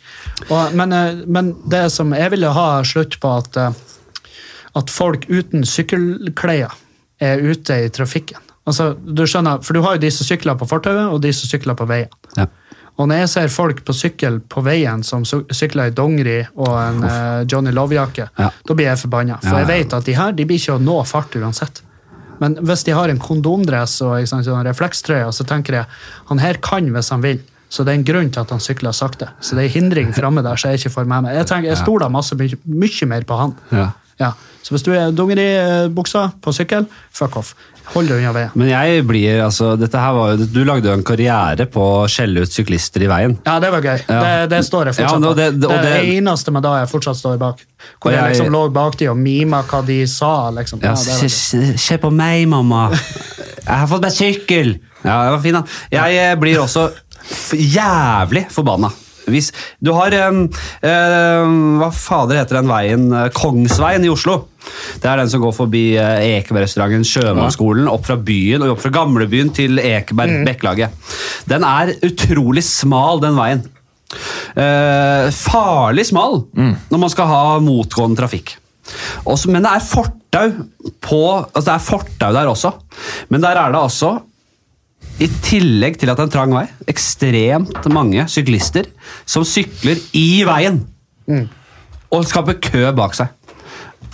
Speaker 3: Og, men, eh, men det som jeg ville ha slutt på, at, eh, at folk uten sykkelklær er ute i trafikken. Altså, du skjønner, For du har jo de som sykler på fortauet, og de som sykler på veien.
Speaker 1: Ja.
Speaker 3: Og når jeg ser folk på sykkel på veien som sy- sykler i dongeri og en eh, Johnny Love-jakke,
Speaker 1: Ja.
Speaker 3: da blir jeg forbanna.
Speaker 1: Ja,
Speaker 3: For
Speaker 1: ja,
Speaker 3: jeg vet at de her de blir ikke å nå fart uansett. Men hvis de har en kondomdress og ikke sant, sånn reflekstrøye, så tenker jeg han her kan hvis han vil. Så det er en grunn til at han sykler sakte. Så det er en hindring framme der så jeg ikke får med meg. Jeg tenker, jeg stoler masse, mye, mye mer på han.
Speaker 1: Ja.
Speaker 3: Ja. Så hvis du er dongeribuksa på sykkel, fuck off. Hold deg unna veien.
Speaker 1: Men jeg blir, altså, dette her var jo, du lagde jo en karriere på å skjelle ut syklister i veien.
Speaker 3: Ja, det var gøy.
Speaker 1: Ja.
Speaker 3: Det, det står jeg
Speaker 1: Ja,
Speaker 3: fortsatt
Speaker 1: men
Speaker 3: bak.
Speaker 1: og det-
Speaker 3: det,
Speaker 1: og
Speaker 3: er det
Speaker 1: det-
Speaker 3: eneste med da jeg fortsatt står bak.
Speaker 1: Og
Speaker 3: Hvor jeg,
Speaker 1: jeg-
Speaker 3: liksom lå bak de og mima hva de sa. liksom.
Speaker 1: Ja,
Speaker 3: Ja, det var
Speaker 1: se,
Speaker 3: gøy.
Speaker 1: se- se på meg, mamma. Jeg har fått meg sykkel! Ja, det var fin, da. Jeg eh, blir også f jævlig forbanna. Hvis du har em, em, Hva fader heter den veien? Eh, Kongsveien i Oslo. Det er den som går forbi uh, Ekeberg-restauranten Sjømannsskolen, opp fra byen og opp fra gamlebyen til Ekeberg Bekkelaget. Den er utrolig smal, den veien. Eh, farlig smal når man skal ha motgående trafikk. Også, men det er fortau på altså Det er fortau der også, men der er det altså i tillegg til at det er en trang vei, ekstremt mange syklister som sykler i veien
Speaker 3: Mm.
Speaker 1: og skaper kø bak seg.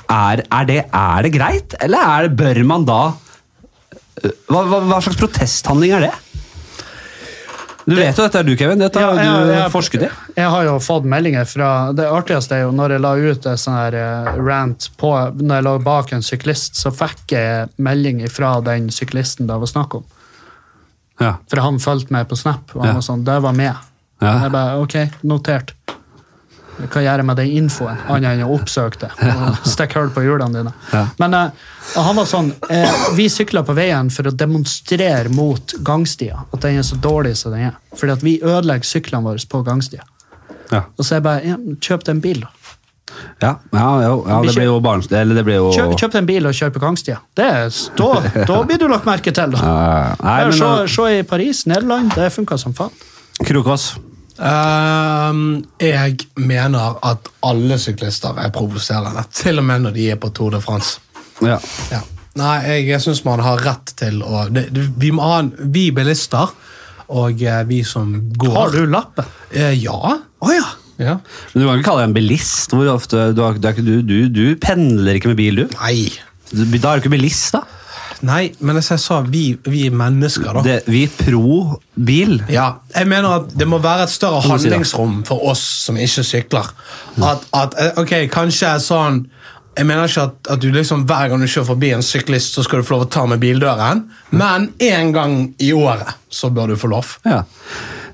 Speaker 1: Er, er, det, er det greit, eller er det, bør man da eh, hva, hva, hva slags protesthandling er det? Du vet jo dette er du, Kevin. Dette har
Speaker 3: Ja,
Speaker 1: jo
Speaker 3: jeg-
Speaker 1: du
Speaker 3: jeg-
Speaker 1: forsket i.
Speaker 3: Jeg har jo fått meldinger fra Det artigste er jo når jeg la ut en sånn her eh, rant på Når jeg lå bak en syklist, så fikk jeg melding fra den syklisten det var snakk om.
Speaker 1: Ja.
Speaker 3: For han fulgte meg på Snap, og han
Speaker 1: Ja.
Speaker 3: var sånn Det var med.
Speaker 1: Ja.
Speaker 3: Jeg bare OK, notert. Hva gjør jeg med den infoen, annet enn å oppsøke det? og Stikke hull på hjulene dine.
Speaker 1: Ja.
Speaker 3: Men eh, og han var sånn eh, Vi sykla på veien for å demonstrere mot gangstia. At den er så dårlig som den er. Fordi at vi ødelegger syklene våre på gangstia.
Speaker 1: Ja.
Speaker 3: Og så jeg bare ja, Kjøp deg en bil, da.
Speaker 1: Ja, ja, ja, ja
Speaker 3: Vi
Speaker 1: det blir jo barnslig. Eller det blir jo
Speaker 3: Kjøp, kjøp deg en bil og kjør på gangstia. Det, er- da, da blir du lagt merke til, da.
Speaker 1: Ja, ja. Nei,
Speaker 3: Bare
Speaker 1: men
Speaker 3: se,
Speaker 1: uh,
Speaker 3: se i Paris, Nederland. Det funka som faen.
Speaker 1: Krokås.
Speaker 2: Ehm, jeg mener at alle syklister er provoserende, til og med når de er på Tour de France.
Speaker 1: Ja.
Speaker 2: Ja. Nei, jeg, jeg syns man har rett til å det, det, vi, må ha en, vi bilister og eh, vi som går
Speaker 3: Har du lappen?
Speaker 2: Eh, ja.
Speaker 3: Å ja!
Speaker 2: ja.
Speaker 1: Men du kan ikke kalle deg en bilist. Hvor ofte, du, har, du, er ikke- du, du, du pendler ikke med bil, du.
Speaker 2: Nei.
Speaker 1: Du- Da er du ikke bilist, da.
Speaker 2: Nei, men jeg sa vi, vi er mennesker, da.
Speaker 1: Det, vi er pro bil.
Speaker 2: Ja, jeg mener at Det må være et større
Speaker 1: må si det.
Speaker 2: handlingsrom for oss som ikke sykler. At, at eh, ok, kanskje er sånn Jeg mener ikke at, at du liksom hver gang du kjører forbi en syklist, så skal du få lov å ta med bildøren, men én gang i året så bør du få lov.
Speaker 1: Ja.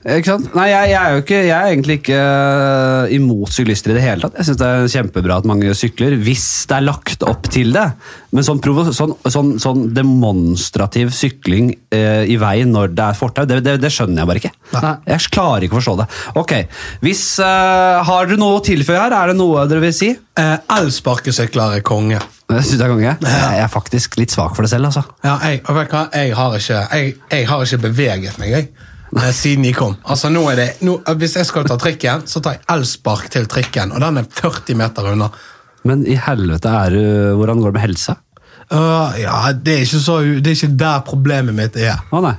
Speaker 1: Ikke sant? Nei, jeg, jeg, er jo ikke, jeg er egentlig ikke øh, imot syklister i det hele tatt. Jeg synes det er kjempebra at mange sykler, hvis det er lagt opp til det. Men sånn, provo sånn, sånn, sånn demonstrativ sykling øh, i veien når det er fortau, det, det, det skjønner jeg bare ikke.
Speaker 3: Nei.
Speaker 1: Jeg klarer ikke å forstå det. Ok, hvis, eh, øh, Har dere noe å tilføye her? Er det noe dere vil si?
Speaker 2: Eh, Elsparkesykler er konge.
Speaker 1: Men jeg synes det er konge. Jeg er faktisk litt svak for det selv, altså.
Speaker 2: Ja, jeg, og vet du hva? Jeg, har ikke, jeg, jeg har ikke beveget meg jeg, eh, siden de kom. Altså, nå er det, nå, hvis jeg skal ta trikken, så tar jeg elspark til trikken, og den er 40 meter unna.
Speaker 1: Men i helvete er du Hvordan går det med helsa?
Speaker 2: Øh, ja, det er, ikke så, det er ikke der problemet mitt er.
Speaker 1: Å nei.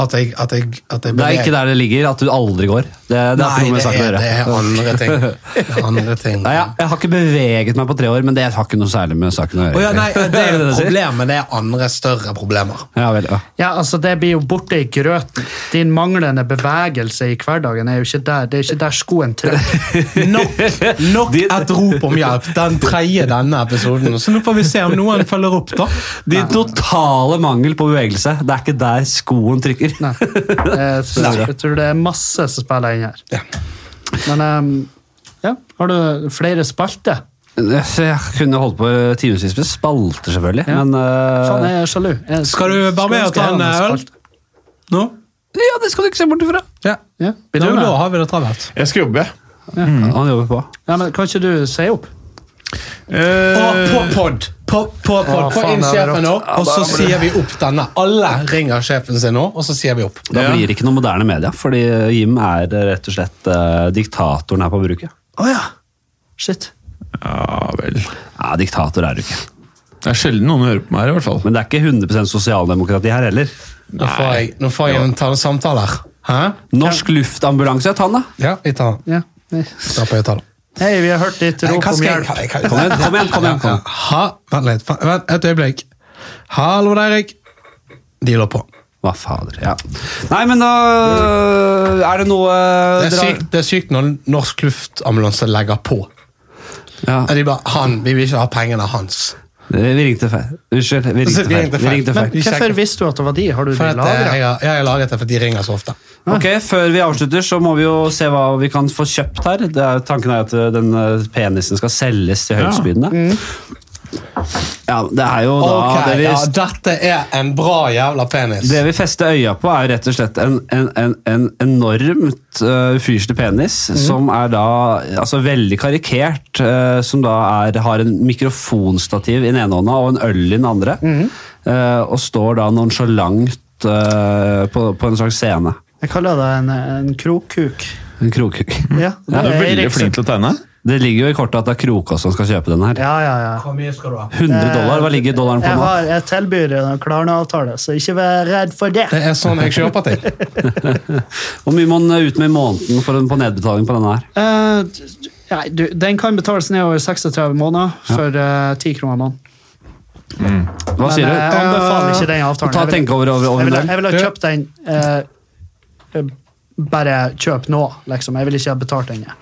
Speaker 2: At jeg, at jeg, at jeg
Speaker 1: Det er ikke der det ligger, at du aldri går. Det, det er
Speaker 2: Nei,
Speaker 1: ikke noe med
Speaker 2: det
Speaker 1: saken å
Speaker 2: er, det er
Speaker 1: gjøre.
Speaker 2: andre ting. Det er andre ting.
Speaker 1: Nei, jeg, jeg har ikke beveget meg på tre år, men det har ikke noe særlig med saken å gjøre.
Speaker 2: Å ja, nei, det er
Speaker 1: du
Speaker 2: et
Speaker 1: sier?
Speaker 2: problem, men det er andre større problemer.
Speaker 1: Ja, vel, ja.
Speaker 3: Ja, altså Det blir jo borte i grøten. Din manglende bevegelse i hverdagen er jo ikke der. Det er ikke der skoen trykker.
Speaker 2: Nok, Eh, nok et rop om hjelp. Den tredje denne episoden. Så nå får vi se om noen følger opp, da.
Speaker 1: Din totale mangel på bevegelse. Det er ikke der skoen trykker.
Speaker 3: Nei. Jeg, tror- Eh, jeg tror det er masse som spiller inn her. Men ehm, ja, har du flere spalter?
Speaker 1: Eh, Så Jeg kunne holdt på timevis med spalter, selvfølgelig,
Speaker 3: Ja.
Speaker 1: men øh,
Speaker 2: Sånn,
Speaker 3: Faen, jeg er sjalu. Jeg,
Speaker 2: Skal du være med
Speaker 3: skulle
Speaker 2: og ta
Speaker 3: ønske jeg
Speaker 2: en
Speaker 3: hadde
Speaker 2: øl?
Speaker 3: spalte.
Speaker 2: Nå?
Speaker 1: Ja, det skal du ikke se bort ifra!
Speaker 2: Ja.
Speaker 3: Ja, blir
Speaker 2: Da,
Speaker 3: du med?
Speaker 2: da har vi det travelt.
Speaker 5: Jeg skal jobbe.
Speaker 2: Mm.
Speaker 1: Han jobber på.
Speaker 3: Ja, men Kan ikke du si opp?
Speaker 2: Og på pod. På, på pod.
Speaker 3: Å,
Speaker 2: Få inn
Speaker 3: faen, det er rått.
Speaker 2: sjefen nå, og så sier vi opp denne. Alle ringer sjefen sin nå, og så sier vi opp.
Speaker 1: Da
Speaker 5: Ja.
Speaker 1: blir det ikke noe moderne media, fordi eh, Jim er rett og slett øh, diktatoren her på bruket.
Speaker 3: Å ja. Shit.
Speaker 5: Eh, Ja vel.
Speaker 1: Ja, diktator er du ikke.
Speaker 5: Det er sjelden noen hører på meg her, i hvert fall.
Speaker 1: Men det er ikke 100 sosialdemokrati her heller.
Speaker 2: Nå får jeg, nå får jeg en ta- samtale her. Hæ?
Speaker 1: Norsk luftambulanse, ta den, da!
Speaker 2: Ja, vi tar den.
Speaker 3: Ja. Nei.
Speaker 2: Da får jeg ta den.
Speaker 3: Hei, vi har hørt ditt
Speaker 2: Nei,
Speaker 3: rop
Speaker 2: Eh, hva
Speaker 3: om
Speaker 2: skal jeg-
Speaker 3: hjelp.
Speaker 2: hva- hva-
Speaker 1: Kom igjen, kom igjen, kom igjen, kom.
Speaker 2: Ha, vent litt. fa- Vent et øyeblikk. Hallo, det er Erik. De lå på.
Speaker 1: Hva fader, ja. Nei, men da øh, Er det noe øh, dere
Speaker 2: Det er
Speaker 1: har-
Speaker 2: sykt, det er sykt når Norsk Luftambulanse legger på.
Speaker 1: Ja.
Speaker 2: De bare, han, Vi vil ikke ha pengene hans.
Speaker 1: Vi ringte feil. Unnskyld. Vi
Speaker 2: Så
Speaker 1: ringte feil.
Speaker 2: vi ringte
Speaker 1: Vi
Speaker 2: feil.
Speaker 1: ringte
Speaker 2: Men
Speaker 1: feil.
Speaker 2: vi
Speaker 3: Hvorfor
Speaker 2: sjekker.
Speaker 3: visste du at det var de? Har du
Speaker 2: For
Speaker 3: de
Speaker 2: at, eh, jeg,
Speaker 3: lagra?
Speaker 2: har, jeg har laget det fordi de ringer så ofte.
Speaker 1: Ok, Før vi avslutter, så må vi jo se hva vi kan få kjøpt her. Det er, tanken er at ø, den ø, penisen skal selges til høyestbydende. Ja. det er jo da
Speaker 2: Mm. Ok,
Speaker 1: det, vi,
Speaker 2: ja, Dette er en bra jævla penis.
Speaker 1: det vi fester øya på, er jo rett og slett en, en, en, en enormt ø, ufyselig penis,
Speaker 3: Mhm.
Speaker 1: som er da altså veldig karikert, ø, som da er, har en mikrofonstativ i den ene hånda og en øl i den andre,
Speaker 3: Mhm.
Speaker 1: ø, og står da nonchalant ø, på, på en slags scene.
Speaker 3: Jeg kaller det en, en krokkuk.
Speaker 1: En krokhugg.
Speaker 2: Mm.
Speaker 3: Ja,
Speaker 5: Du
Speaker 3: det
Speaker 5: er veldig
Speaker 3: Eriksen.
Speaker 5: flink til å tegne.
Speaker 1: Det ligger jo i kortet at det er Krokås som skal kjøpe den her.
Speaker 3: Ja, ja, ja.
Speaker 2: Hvor mye skal du ha?
Speaker 1: 100 dollar, hva ligger dollaren på
Speaker 3: Jeg,
Speaker 1: nå?
Speaker 3: har, jeg tilbyr en Klarna-avtale, så ikke vær redd for det.
Speaker 2: Det er sånn jeg kjøper til.
Speaker 1: Hvor mye må den ut med i måneden for en på nedbetaling på denne her?
Speaker 3: Eh, d- nei, du, den kan betales ned over 36 måneder for eh, 10 kroner måneden.
Speaker 1: Hva
Speaker 3: Men
Speaker 1: sier
Speaker 3: eh, jeg
Speaker 1: du?
Speaker 3: anbefaler ikke den avtalen.
Speaker 1: Ta og
Speaker 3: Jeg vil-
Speaker 1: tenke over over, over
Speaker 3: Jeg ville
Speaker 1: den.
Speaker 3: jeg ville ha kjøpt den eh, eh, Bare kjøp nå, liksom. Jeg ville ikke ha betalt den. jeg.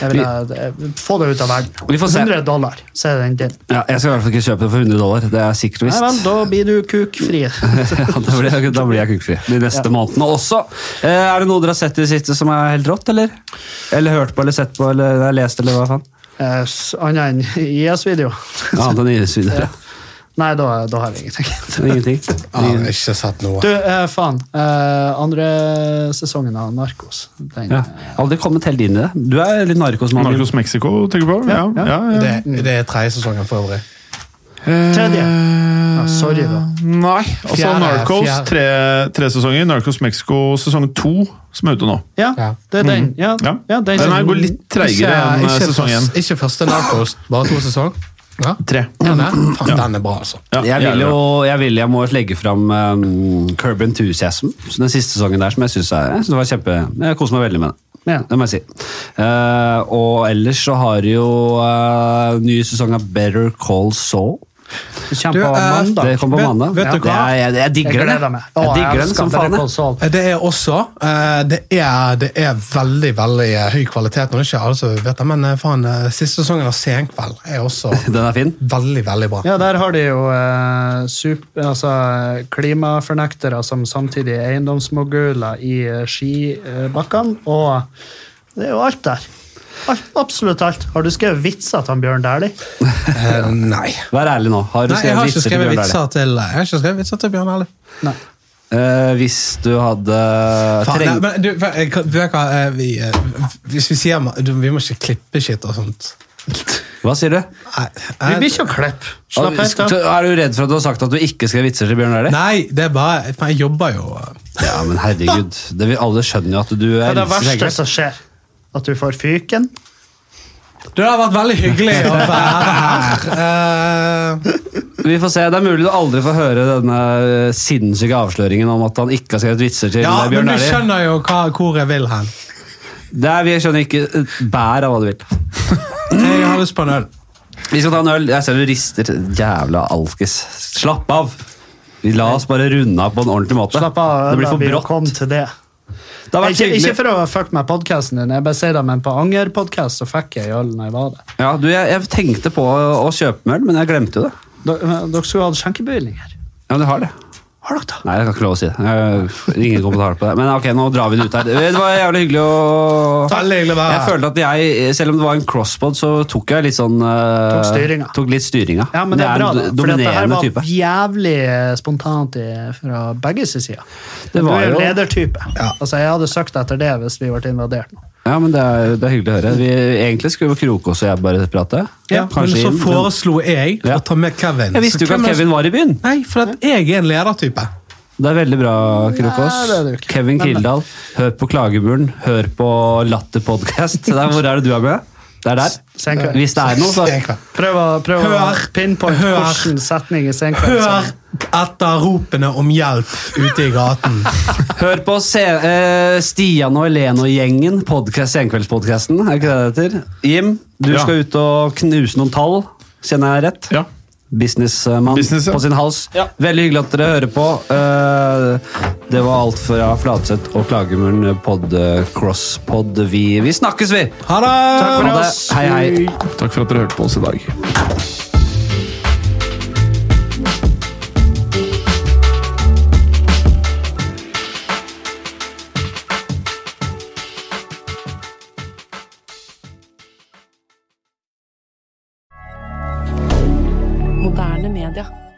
Speaker 3: Jeg ville eh, få det ut av verden.
Speaker 1: Vi får se.
Speaker 3: 100 dollar, så er den din.
Speaker 1: Ja, jeg skal i hvert fall ikke kjøpe den for 100 dollar. Det er sikkert og
Speaker 3: Nei vel,
Speaker 1: visst.
Speaker 3: da blir du kukfri.
Speaker 1: Ja, da blir jeg, da blir jeg kukkfri de neste månedene også. Eh, er det noe dere har sett i det siste som er helt rått, eller? Eller hørt på, eller sett på, eller eller lest, eller hva faen?
Speaker 3: Eh, s- Annet enn IS-video.
Speaker 1: Ja, den er videre.
Speaker 3: Nei, da, da har jeg ingenting.
Speaker 1: Ingenting.
Speaker 2: Jeg har ikke sett noe.
Speaker 3: Du, eh, faen. Eh, andre sesongen av Narkos. Den,
Speaker 1: Ja. Aldri kommet helt inn i det. Du er litt narkosmann. Jim.
Speaker 5: Narkos Mexico, tenker du på? Ja, ja, ja.
Speaker 2: Det, det er tredje sesongen for øvrig.
Speaker 3: Tredje. Ja, sorry, da.
Speaker 5: Eh, Nei. Altså
Speaker 2: Fjerde,
Speaker 5: Narcos
Speaker 2: fjerde.
Speaker 5: tre, tre sesonger. Narcos Mexico sesong to, som er ute nå.
Speaker 3: Ja,
Speaker 2: Ja.
Speaker 3: det er den. Ja,
Speaker 5: Ja.
Speaker 3: ja, den,
Speaker 5: Den her går litt treigere enn eh, sesong én.
Speaker 2: først- ikke første Narcos, bare to sesong. Ja.
Speaker 5: Tre.
Speaker 2: Den er, faen, den er bra, altså.
Speaker 5: Ja,
Speaker 1: jeg vil
Speaker 5: jævlig
Speaker 1: jo
Speaker 5: bra.
Speaker 1: jeg, vil, jeg må legge fram um, Curb Enthusiasm, så den siste sesongen der, som jeg syns var kjempe Jeg koser meg veldig med den.
Speaker 3: Ja.
Speaker 1: Det må jeg si. Eh, og ellers så har jo uh, ny sesong av Better Call Saul.
Speaker 3: Kjempe
Speaker 2: Du, eh,
Speaker 3: på mandag.
Speaker 1: Det kommer på
Speaker 2: Vet-
Speaker 1: mandag.
Speaker 2: vet du
Speaker 1: Det
Speaker 2: hva?
Speaker 1: er, jeg, jeg digger
Speaker 3: Jeg
Speaker 1: den.
Speaker 3: gleder meg.
Speaker 1: jeg. Jeg
Speaker 3: Å, jeg
Speaker 1: digger den
Speaker 3: elsker
Speaker 1: som
Speaker 3: Better
Speaker 1: faen.
Speaker 3: Call
Speaker 1: jeg.
Speaker 3: Saul.
Speaker 2: Det er også eh, det, er, det er veldig veldig eh, høy kvalitet. Nå er det ikke alle som vet det, men eh, faen, eh, siste sesongen av Senkveld er også
Speaker 1: Den er fin.
Speaker 2: veldig, veldig bra.
Speaker 3: Ja, der har de jo eh, sup- altså, klimafornektere som samtidig er eiendomsmoguler i eh, skibakkene, og det er jo alt der. Alt, absolutt alt. Har du skrevet vitser til han Bjørn Dæhlie?
Speaker 2: Eh, nei.
Speaker 1: Vær ærlig nå. Har du
Speaker 2: nei. Jeg har
Speaker 1: skrevet
Speaker 2: ikke
Speaker 1: vitser til Bjørn Dæhlie?
Speaker 2: skrevet vitser til, eh, jeg har ikke skrevet vitser til Bjørn Erle.
Speaker 3: Nei.
Speaker 1: Eh, hvis du hadde
Speaker 2: Faen, nei,
Speaker 1: trengt
Speaker 2: men du, jeg eh, kan- vet du hva, eh, vi, eh, hvis vi sier ma- du, Vi må ikke klippe shit og sånt.
Speaker 1: Hva sier du?
Speaker 2: Nei, eh,
Speaker 3: Vi blir
Speaker 2: jeg-
Speaker 3: ikke å klippe. Slapp helt av.
Speaker 1: Er du redd for at du har sagt at du ikke skrev vitser til Bjørn Dæhlie?
Speaker 2: Nei, det er bare for Jeg jobber jo eh,
Speaker 1: Ja, men herregud. Det vil, alle skjønner jo at du
Speaker 3: Det er det
Speaker 1: elsker
Speaker 3: verste
Speaker 1: Hegel.
Speaker 3: som skjer. At du får fyken.
Speaker 2: Det har vært veldig hyggelig å være her. Eh,
Speaker 1: Vi får se. Det er mulig du aldri får høre denne eh, sinnssyke avsløringen om at han ikke har skrevet vitser til
Speaker 2: ja,
Speaker 1: eh,
Speaker 2: men
Speaker 1: Bjørn
Speaker 2: du
Speaker 1: Dæhlie.
Speaker 2: skjønner jo hva, hvor jeg vil hen.
Speaker 1: Det er- Vi skjønner ikke et bær av hva du vil.
Speaker 2: Jeg har lyst på en øl.
Speaker 1: Vi skal ta en øl. Jeg ser du rister. Jævla alkis. Slapp av. Vi La oss bare runde av på en ordentlig måte.
Speaker 3: Slapp av.
Speaker 1: det blir for
Speaker 3: Ella, vi kom
Speaker 1: brått.
Speaker 3: til det.
Speaker 1: Det har vært
Speaker 3: Ikke, ikke
Speaker 1: hyggelig.
Speaker 3: for å ha fucket med podkasten din, jeg bare sier det, men på Anger-podkast så fikk jeg øl når jeg var der.
Speaker 1: Ja, du, jeg, jeg tenkte på å kjøpe meg øl, men jeg glemte jo det.
Speaker 3: Dere
Speaker 1: eh,
Speaker 3: dere skulle hatt skjenkebevilgninger.
Speaker 1: Ja, men du har det.
Speaker 3: Har dere det?
Speaker 1: Nei, jeg kan ikke lov å si det. Jeg- Ingen kommentarer på det. Men ok, nå drar vi det ut her. Det var jævlig hyggelig å
Speaker 2: Veldig hyggelig å være
Speaker 1: Jeg
Speaker 2: her.
Speaker 1: følte at jeg, selv om det var en crosspod, så tok jeg litt sånn eh,
Speaker 3: Tok styringa.
Speaker 1: Tok litt styringa.
Speaker 3: Ja, men det er bra,
Speaker 1: en
Speaker 3: da.
Speaker 1: do-
Speaker 3: For det her
Speaker 1: dominerende
Speaker 3: var
Speaker 1: type.
Speaker 3: jævlig eh, spontant i- fra begge sin side.
Speaker 1: Det var
Speaker 3: du er
Speaker 1: jo-
Speaker 3: jo ledertype. Altså, jeg hadde søkt etter det hvis vi ble invadert nå.
Speaker 1: Ja, men det er, det er hyggelig å høre. Vi, egentlig skulle jo Krokås og jeg bare prate.
Speaker 2: Ja, men
Speaker 1: Kanskje
Speaker 2: så
Speaker 1: inn, men-
Speaker 2: foreslo jeg
Speaker 1: Ja.
Speaker 2: å ta med Kevin.
Speaker 1: Jeg visste
Speaker 2: Så
Speaker 1: jo ikke at
Speaker 2: hvem er-
Speaker 1: Kevin var i byen.
Speaker 2: Nei, for at jeg er en ledertype.
Speaker 1: Det er veldig bra, Krokås.
Speaker 3: Nei, det er det jo ikke.
Speaker 1: Kevin Kildahl, hør på Klagemuren, hør på Latter podcast. Det er- Hvor er det du er med? Det er der.
Speaker 3: Senkveld.
Speaker 1: Hvis det er noe, så
Speaker 2: Senkveld.
Speaker 3: Prøv å, prøv å
Speaker 2: Hør.
Speaker 3: pinpoint
Speaker 2: Hør.
Speaker 3: hvilken setning i senkveld
Speaker 2: Hør
Speaker 3: som
Speaker 2: etter ropene om hjelp ute i gaten.
Speaker 1: hør på se, eh, Stian og Helene og gjengen, podcast, Senkveldspodcasten. Er ikke det det heter? Jim, du
Speaker 5: Ja.
Speaker 1: skal ut og knuse noen tall. Kjenner jeg rett?
Speaker 5: Ja.
Speaker 1: Businessmann
Speaker 5: Business, ja.
Speaker 1: på sin hals. Veldig hyggelig at dere hører på. Eh, Det var alt fra Flatseth og Klagemuren pod, eh, crosspod. Vi, vi snakkes, vi!
Speaker 2: Ha det!
Speaker 1: Ha det. Hei, hei.
Speaker 5: Takk for at dere hørte på oss i dag.
Speaker 6: Moderne media.